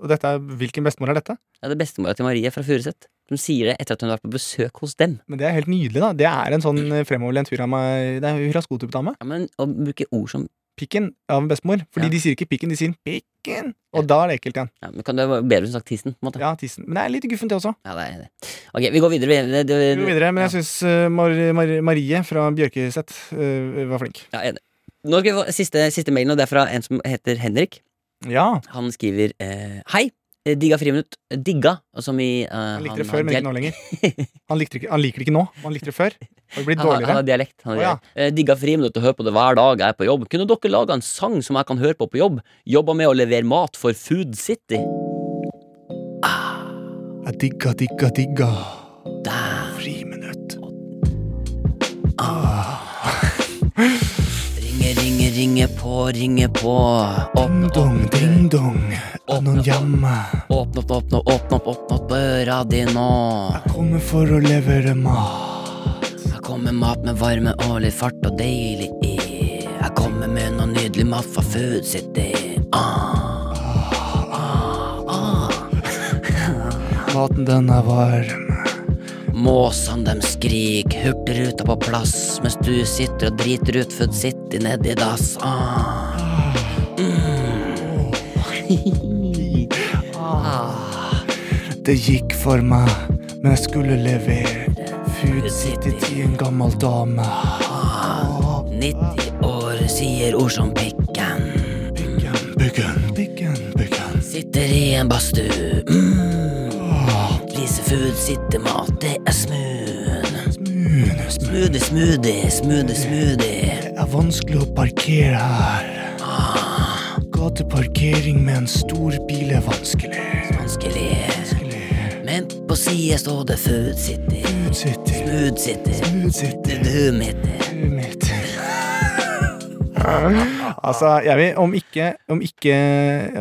Speaker 7: Og dette er, hvilken bestemor er dette?
Speaker 3: Ja, det er bestemora til Marie fra Furuset. Som sier det etter at hun har vært på besøk hos dem.
Speaker 7: Men det er helt nydelig, da. Det er en sånn eh, fremoverlent hurra meg- det er en hurra sko-type-dame.
Speaker 3: Ja, men Å bruke ord som
Speaker 7: Pikken av en bestemor. Fordi
Speaker 3: Ja.
Speaker 7: de sier ikke pikken, de sier pikken. Og da er det ekkelt igjen.
Speaker 3: ja, men kan Det være bedre hvis hun sagt tissen. på en måte Ja,
Speaker 7: Ja, tissen. Men det er litt guffent, det også.
Speaker 3: det er det. Ok, vi går videre. Vi, det, det,
Speaker 7: Vi går videre, men jeg syns Mar Mar Marie fra Bjørkeset eh, var flink.
Speaker 3: Ja, enig. Nå skal vi få siste, siste mailen, og det er fra en som heter Henrik.
Speaker 7: Ja.
Speaker 3: Han skriver eh, Hei, eh, digga friminutt. Digga, som i eh,
Speaker 7: Han likte det
Speaker 3: har
Speaker 7: før, men ikke nå
Speaker 3: dial-
Speaker 7: lenger. Han, likte det ikke, han liker det ikke nå, men han likte det før. Har det blitt
Speaker 3: Han har, han
Speaker 7: dårligere?
Speaker 3: har dialekt. Han har
Speaker 7: Å, ja.
Speaker 3: dialekt. Eh, digga friminutt og hør på det hver dag jeg er på jobb. Kunne dere laga en sang som jeg kan høre på på jobb? Jobba med å levere mat for Food City.
Speaker 7: Jeg digga, digga, digga. Friminutt.
Speaker 3: Ringe, ringe, ringe på, ringe på. Åpne,
Speaker 7: Dong,
Speaker 3: åpne,
Speaker 7: ding, dong. Anon
Speaker 3: Åpne,
Speaker 7: jamme.
Speaker 3: åpne, åpne, åpne, åpne, opp, åpne opp døra di nå.
Speaker 7: Kommer for å levere mat.
Speaker 3: Jeg kommer med mat med varme og litt fart og deilig i. Jeg kommer med noe nydelig mat fra Food City. Ah.
Speaker 7: Maten, den er varm.
Speaker 3: Måsene dem skrik, hurtigruta på plass, mens du sitter og driter ut Food City nedi dass. Ah. Mm.
Speaker 7: Det gikk for meg, men jeg skulle levere hud sittet i en gammel dame.
Speaker 3: 90 år sier ord som pikken. Sitter i en badstue. Mm. Spiser food, sitter mat, det er smooth. Smoothie, smoothie, smoothie, smoothie.
Speaker 7: Det er vanskelig å parkere her. Gateparkering med en stor bil er vanskelig.
Speaker 3: Vanskelig. Men på sida står det food city.
Speaker 7: Utsitter,
Speaker 3: Food city.
Speaker 7: utsitter,
Speaker 3: Du mitt.
Speaker 7: mitt. altså, jeg vil om ikke Om ikke,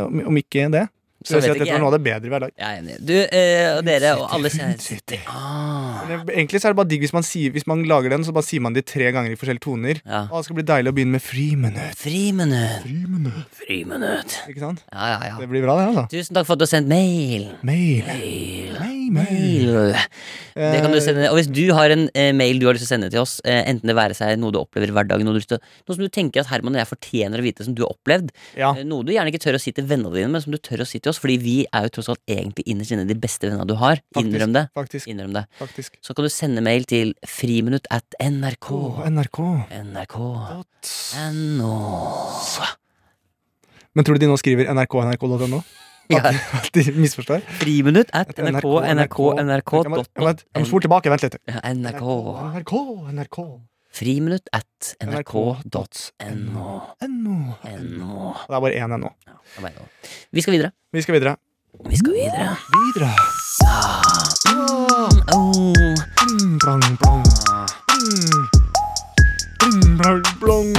Speaker 7: om, om ikke det. Så jeg
Speaker 3: vet
Speaker 7: sier at
Speaker 3: ikke
Speaker 7: dette var
Speaker 3: jeg.
Speaker 7: noe av det bedre i hverdag.
Speaker 3: Jeg er enig. Du eh, og dere og alle kjære
Speaker 7: Utsitter.
Speaker 3: ah.
Speaker 7: Men Egentlig så er det bare digg hvis man, sier, hvis man lager den, så bare sier man de tre ganger i forskjellige toner.
Speaker 3: Ja.
Speaker 7: Å, det skal bli deilig å begynne med friminutt.
Speaker 3: Friminutt. Friminutt.
Speaker 7: Ikke sant?
Speaker 3: Ja, ja, ja.
Speaker 7: Det blir bra, det, altså.
Speaker 3: Tusen takk for at du har sendt mail.
Speaker 7: Mail.
Speaker 3: Mail.
Speaker 7: Mail, mail.
Speaker 3: Mail. Det kan du sende. Og hvis du har en eh, mail du har lyst til å sende til oss, eh, enten det være seg noe du opplever i hverdagen, noe, du har lyst til, å- noe som du tenker at Herman og jeg fortjener å vite, som du har opplevd,
Speaker 7: Ja.
Speaker 3: eh, noe du gjerne ikke tør å si til vennene dine, men som du tør å si til oss, fordi vi er jo tross alt egentlig innerst inne de beste vennene du har. Innrøm det.
Speaker 7: Faktisk.
Speaker 3: Innrøm det.
Speaker 7: faktisk.
Speaker 3: Så kan du sende mail til friminutt at nrk.
Speaker 7: Å, NRK.
Speaker 3: NRK.
Speaker 7: Godt.
Speaker 3: NO.
Speaker 7: Men tror du de nå skriver nrk, nrk.no?
Speaker 3: Ja.
Speaker 7: At, at de misforstår?
Speaker 3: Friminutt at nrk, nrk, nrk.
Speaker 7: Jeg må- jeg må- jeg må spole tilbake, vent litt.
Speaker 3: NRK.
Speaker 7: NRK, NRK,
Speaker 3: Friminutt at nrk.no.
Speaker 7: nrk.no. NO.
Speaker 3: NO.
Speaker 7: Det er bare én NO.
Speaker 3: Jeg vet ikke. Vi skal videre.
Speaker 7: Vi skal videre.
Speaker 3: Vi skal videre.
Speaker 7: Videre.
Speaker 3: Åh,
Speaker 7: Bling, blong, blong. Bling. Bling, blong, blong.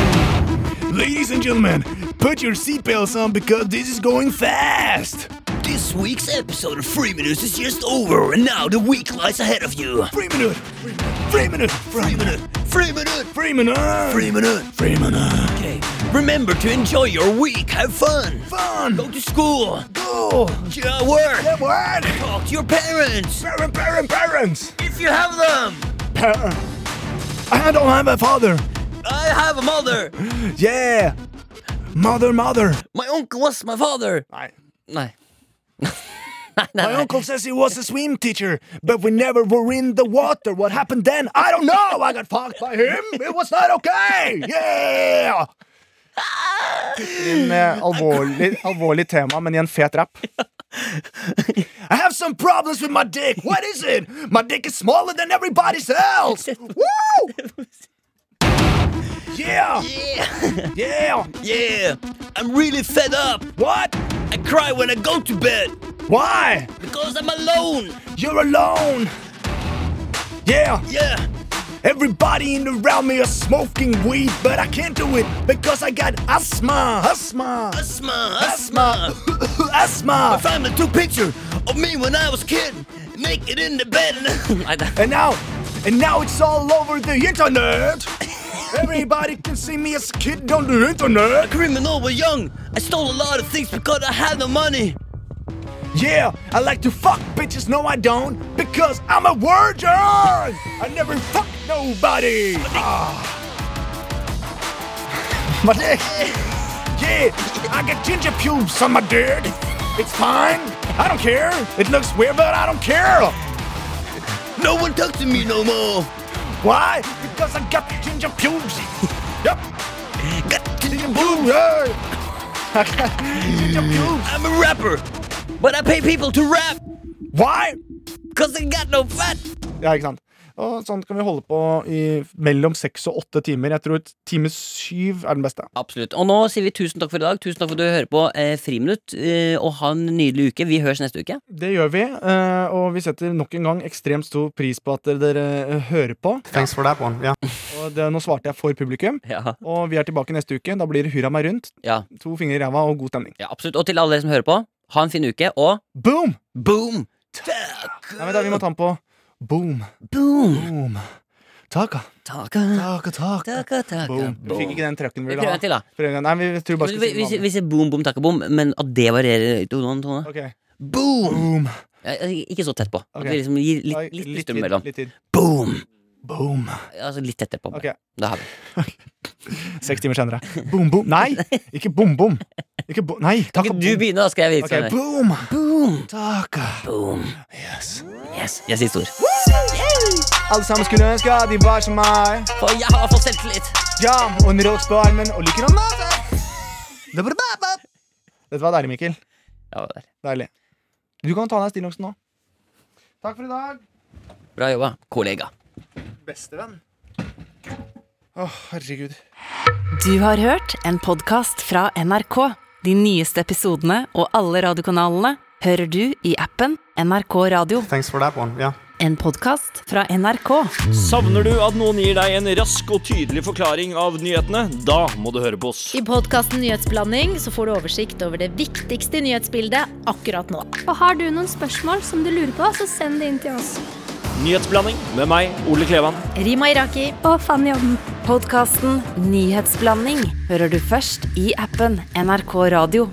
Speaker 7: Ladies and gentlemen, put your seatbelts on because this is going fast.
Speaker 9: This week's episode of Three Minutes is just over, and now the week lies ahead of you.
Speaker 7: Three minute. Three minute. Three minute.
Speaker 9: Three Minute!
Speaker 7: Three minute.
Speaker 9: Three Minute!
Speaker 7: Three minute.
Speaker 9: Okay. Remember to enjoy your week, have fun!
Speaker 7: Fun.
Speaker 9: Go to school!
Speaker 7: Go.
Speaker 9: Go work!
Speaker 7: What?
Speaker 9: Talk to your parents!
Speaker 7: Parent, parent, parents.
Speaker 9: If you have them!
Speaker 7: Parent. I don't have a father.
Speaker 9: I have a mother!
Speaker 7: Yeah. Mother, mother.
Speaker 3: My uncle was my father!
Speaker 7: Nei.
Speaker 3: Nei. nei, nei,
Speaker 7: My
Speaker 3: nei.
Speaker 7: uncle says he was a swim teacher, but we never were in the water. What happened then? I don't know. I got fucked by him. It was not okay. Yeah. En eh, alvorlig, alvorlig tema, men i en fet rap. I have some problems with my dick. What is it? My dick is smaller than everybody's else. Woo! Yeah! Yeah!
Speaker 9: Yeah! I'm really fed up!
Speaker 7: What?
Speaker 9: I cry when I go to bed!
Speaker 7: Why?
Speaker 9: Because I'm alone!
Speaker 7: You're alone! Yeah!
Speaker 9: Yeah!
Speaker 7: Everybody in around me are smoking weed, but I can't do it because I got asthma, asthma,
Speaker 9: Asthma!
Speaker 7: asthma,
Speaker 9: Asthma! My
Speaker 7: asthma.
Speaker 9: family took picture of me when I was kid, naked in the bed.
Speaker 3: nei det-
Speaker 7: And now, and now it's all over the internet. Everybody can see me as a kid on the internet.
Speaker 9: Criminal was young. I stole a lot of things because I had no money.
Speaker 7: Yeah, I like to fuck bitches. No, I don't, because I'm a virgin. I never fuck nobody. Ah. My dick. Yeah, I got ginger pubes on my dick. It's fine. I don't care. It looks weird, but I don't care.
Speaker 9: No one talks to me no more.
Speaker 7: Why? Because I got ginger pubes. Yep. Got ginger pubes. Yeah. I got ginger pubes.
Speaker 9: I'm a rapper, but I pay people to rap
Speaker 7: Why?
Speaker 9: because they got no fat.
Speaker 7: Ja, ikke sant? Og sånn kan vi holde på i mellom seks og åtte timer. Jeg tror time syv er den beste.
Speaker 3: Absolutt. Og nå sier vi tusen takk for i dag. Tusen takk for at du hører på eh, Friminutt. Eh, og ha en nydelig uke. Vi høres neste uke.
Speaker 7: Det gjør vi, eh, og vi setter nok en gang ekstremt stor pris på at dere, dere hører på.
Speaker 10: Thanks for that one. Yeah.
Speaker 7: Og det, nå svarte jeg for publikum.
Speaker 3: Ja.
Speaker 7: Og vi er tilbake neste uke. Da blir det hurra meg rundt.
Speaker 3: Ja,
Speaker 7: To fingre i ræva og god stemning.
Speaker 3: ja, absolutt. Og til alle dere som hører på, ha en fin uke, og
Speaker 7: Boom!
Speaker 3: boom!
Speaker 7: Nei, men da, vi må ta den på boom.
Speaker 3: Boom!
Speaker 7: Boom. Taka,
Speaker 3: Taka,
Speaker 7: taka, taka.
Speaker 3: taka, taka.
Speaker 7: Boom. Du fikk ikke den trøkken vi
Speaker 3: Vi
Speaker 7: ville
Speaker 3: prøver
Speaker 7: ha.
Speaker 3: en til, da.
Speaker 7: Prøv en gang. Nei, vi tror bare
Speaker 3: Vi,
Speaker 7: skal
Speaker 3: vi,
Speaker 7: si
Speaker 3: vi,
Speaker 7: den
Speaker 3: vi sier boom, boom, taka, boom, men at det varierer i tonen. tonen.
Speaker 7: vanlige. Ok.
Speaker 3: Boom!
Speaker 7: Boom.
Speaker 3: Eh, eh, Ikke så tett på. At
Speaker 7: Ok.
Speaker 3: vi liksom gir
Speaker 7: Ja,
Speaker 3: litt, litt, litt
Speaker 7: tid,
Speaker 3: stund mellom.
Speaker 7: Litt tid.
Speaker 3: Boom!
Speaker 7: Boom.
Speaker 3: Altså litt tettere på.
Speaker 7: Ok.
Speaker 3: Da har vi
Speaker 7: Seks timer senere. Boom, boom. Nei, ikke bom, bom. Ikke bo nei, takk
Speaker 3: Kan ikke du begynne, da skal jeg vite.
Speaker 7: Ok, boom.
Speaker 3: Boom!
Speaker 7: Takk.
Speaker 3: Boom.
Speaker 7: Yes.
Speaker 3: Yes. Jeg sier stor.
Speaker 7: Woo!
Speaker 2: Alle sammen skulle ønske at de var som meg.
Speaker 6: For jeg har fått selvtillit.
Speaker 2: Ja, og en rox på armen og lykken om natta. Det var bra, bra. Dette var deilig, Mikkel.
Speaker 3: Ja, det er.
Speaker 2: Deilig. Du kan ta av deg stillongsen nå. Takk for i dag.
Speaker 3: Bra jobba, kollega.
Speaker 2: Bestevenn. Å, herregud.
Speaker 1: Du har hørt en podkast fra NRK. De nyeste episodene og alle radiokanalene hører du i appen NRK Radio.
Speaker 7: Thanks for that one. Yeah.
Speaker 1: En podkast fra NRK.
Speaker 11: Savner du at noen gir deg en rask og tydelig forklaring av nyhetene? Da må du høre på oss.
Speaker 5: I podkasten Nyhetsblanding så får du oversikt over det viktigste nyhetsbildet akkurat nå.
Speaker 4: Og har du noen spørsmål som du lurer på, så send det inn til oss.
Speaker 11: Nyhetsblanding med meg, Ole Klevan.
Speaker 5: Rima Iraki.
Speaker 4: Og Fanny Odden.
Speaker 1: Podkasten Nyhetsblanding hører du først i appen NRK Radio.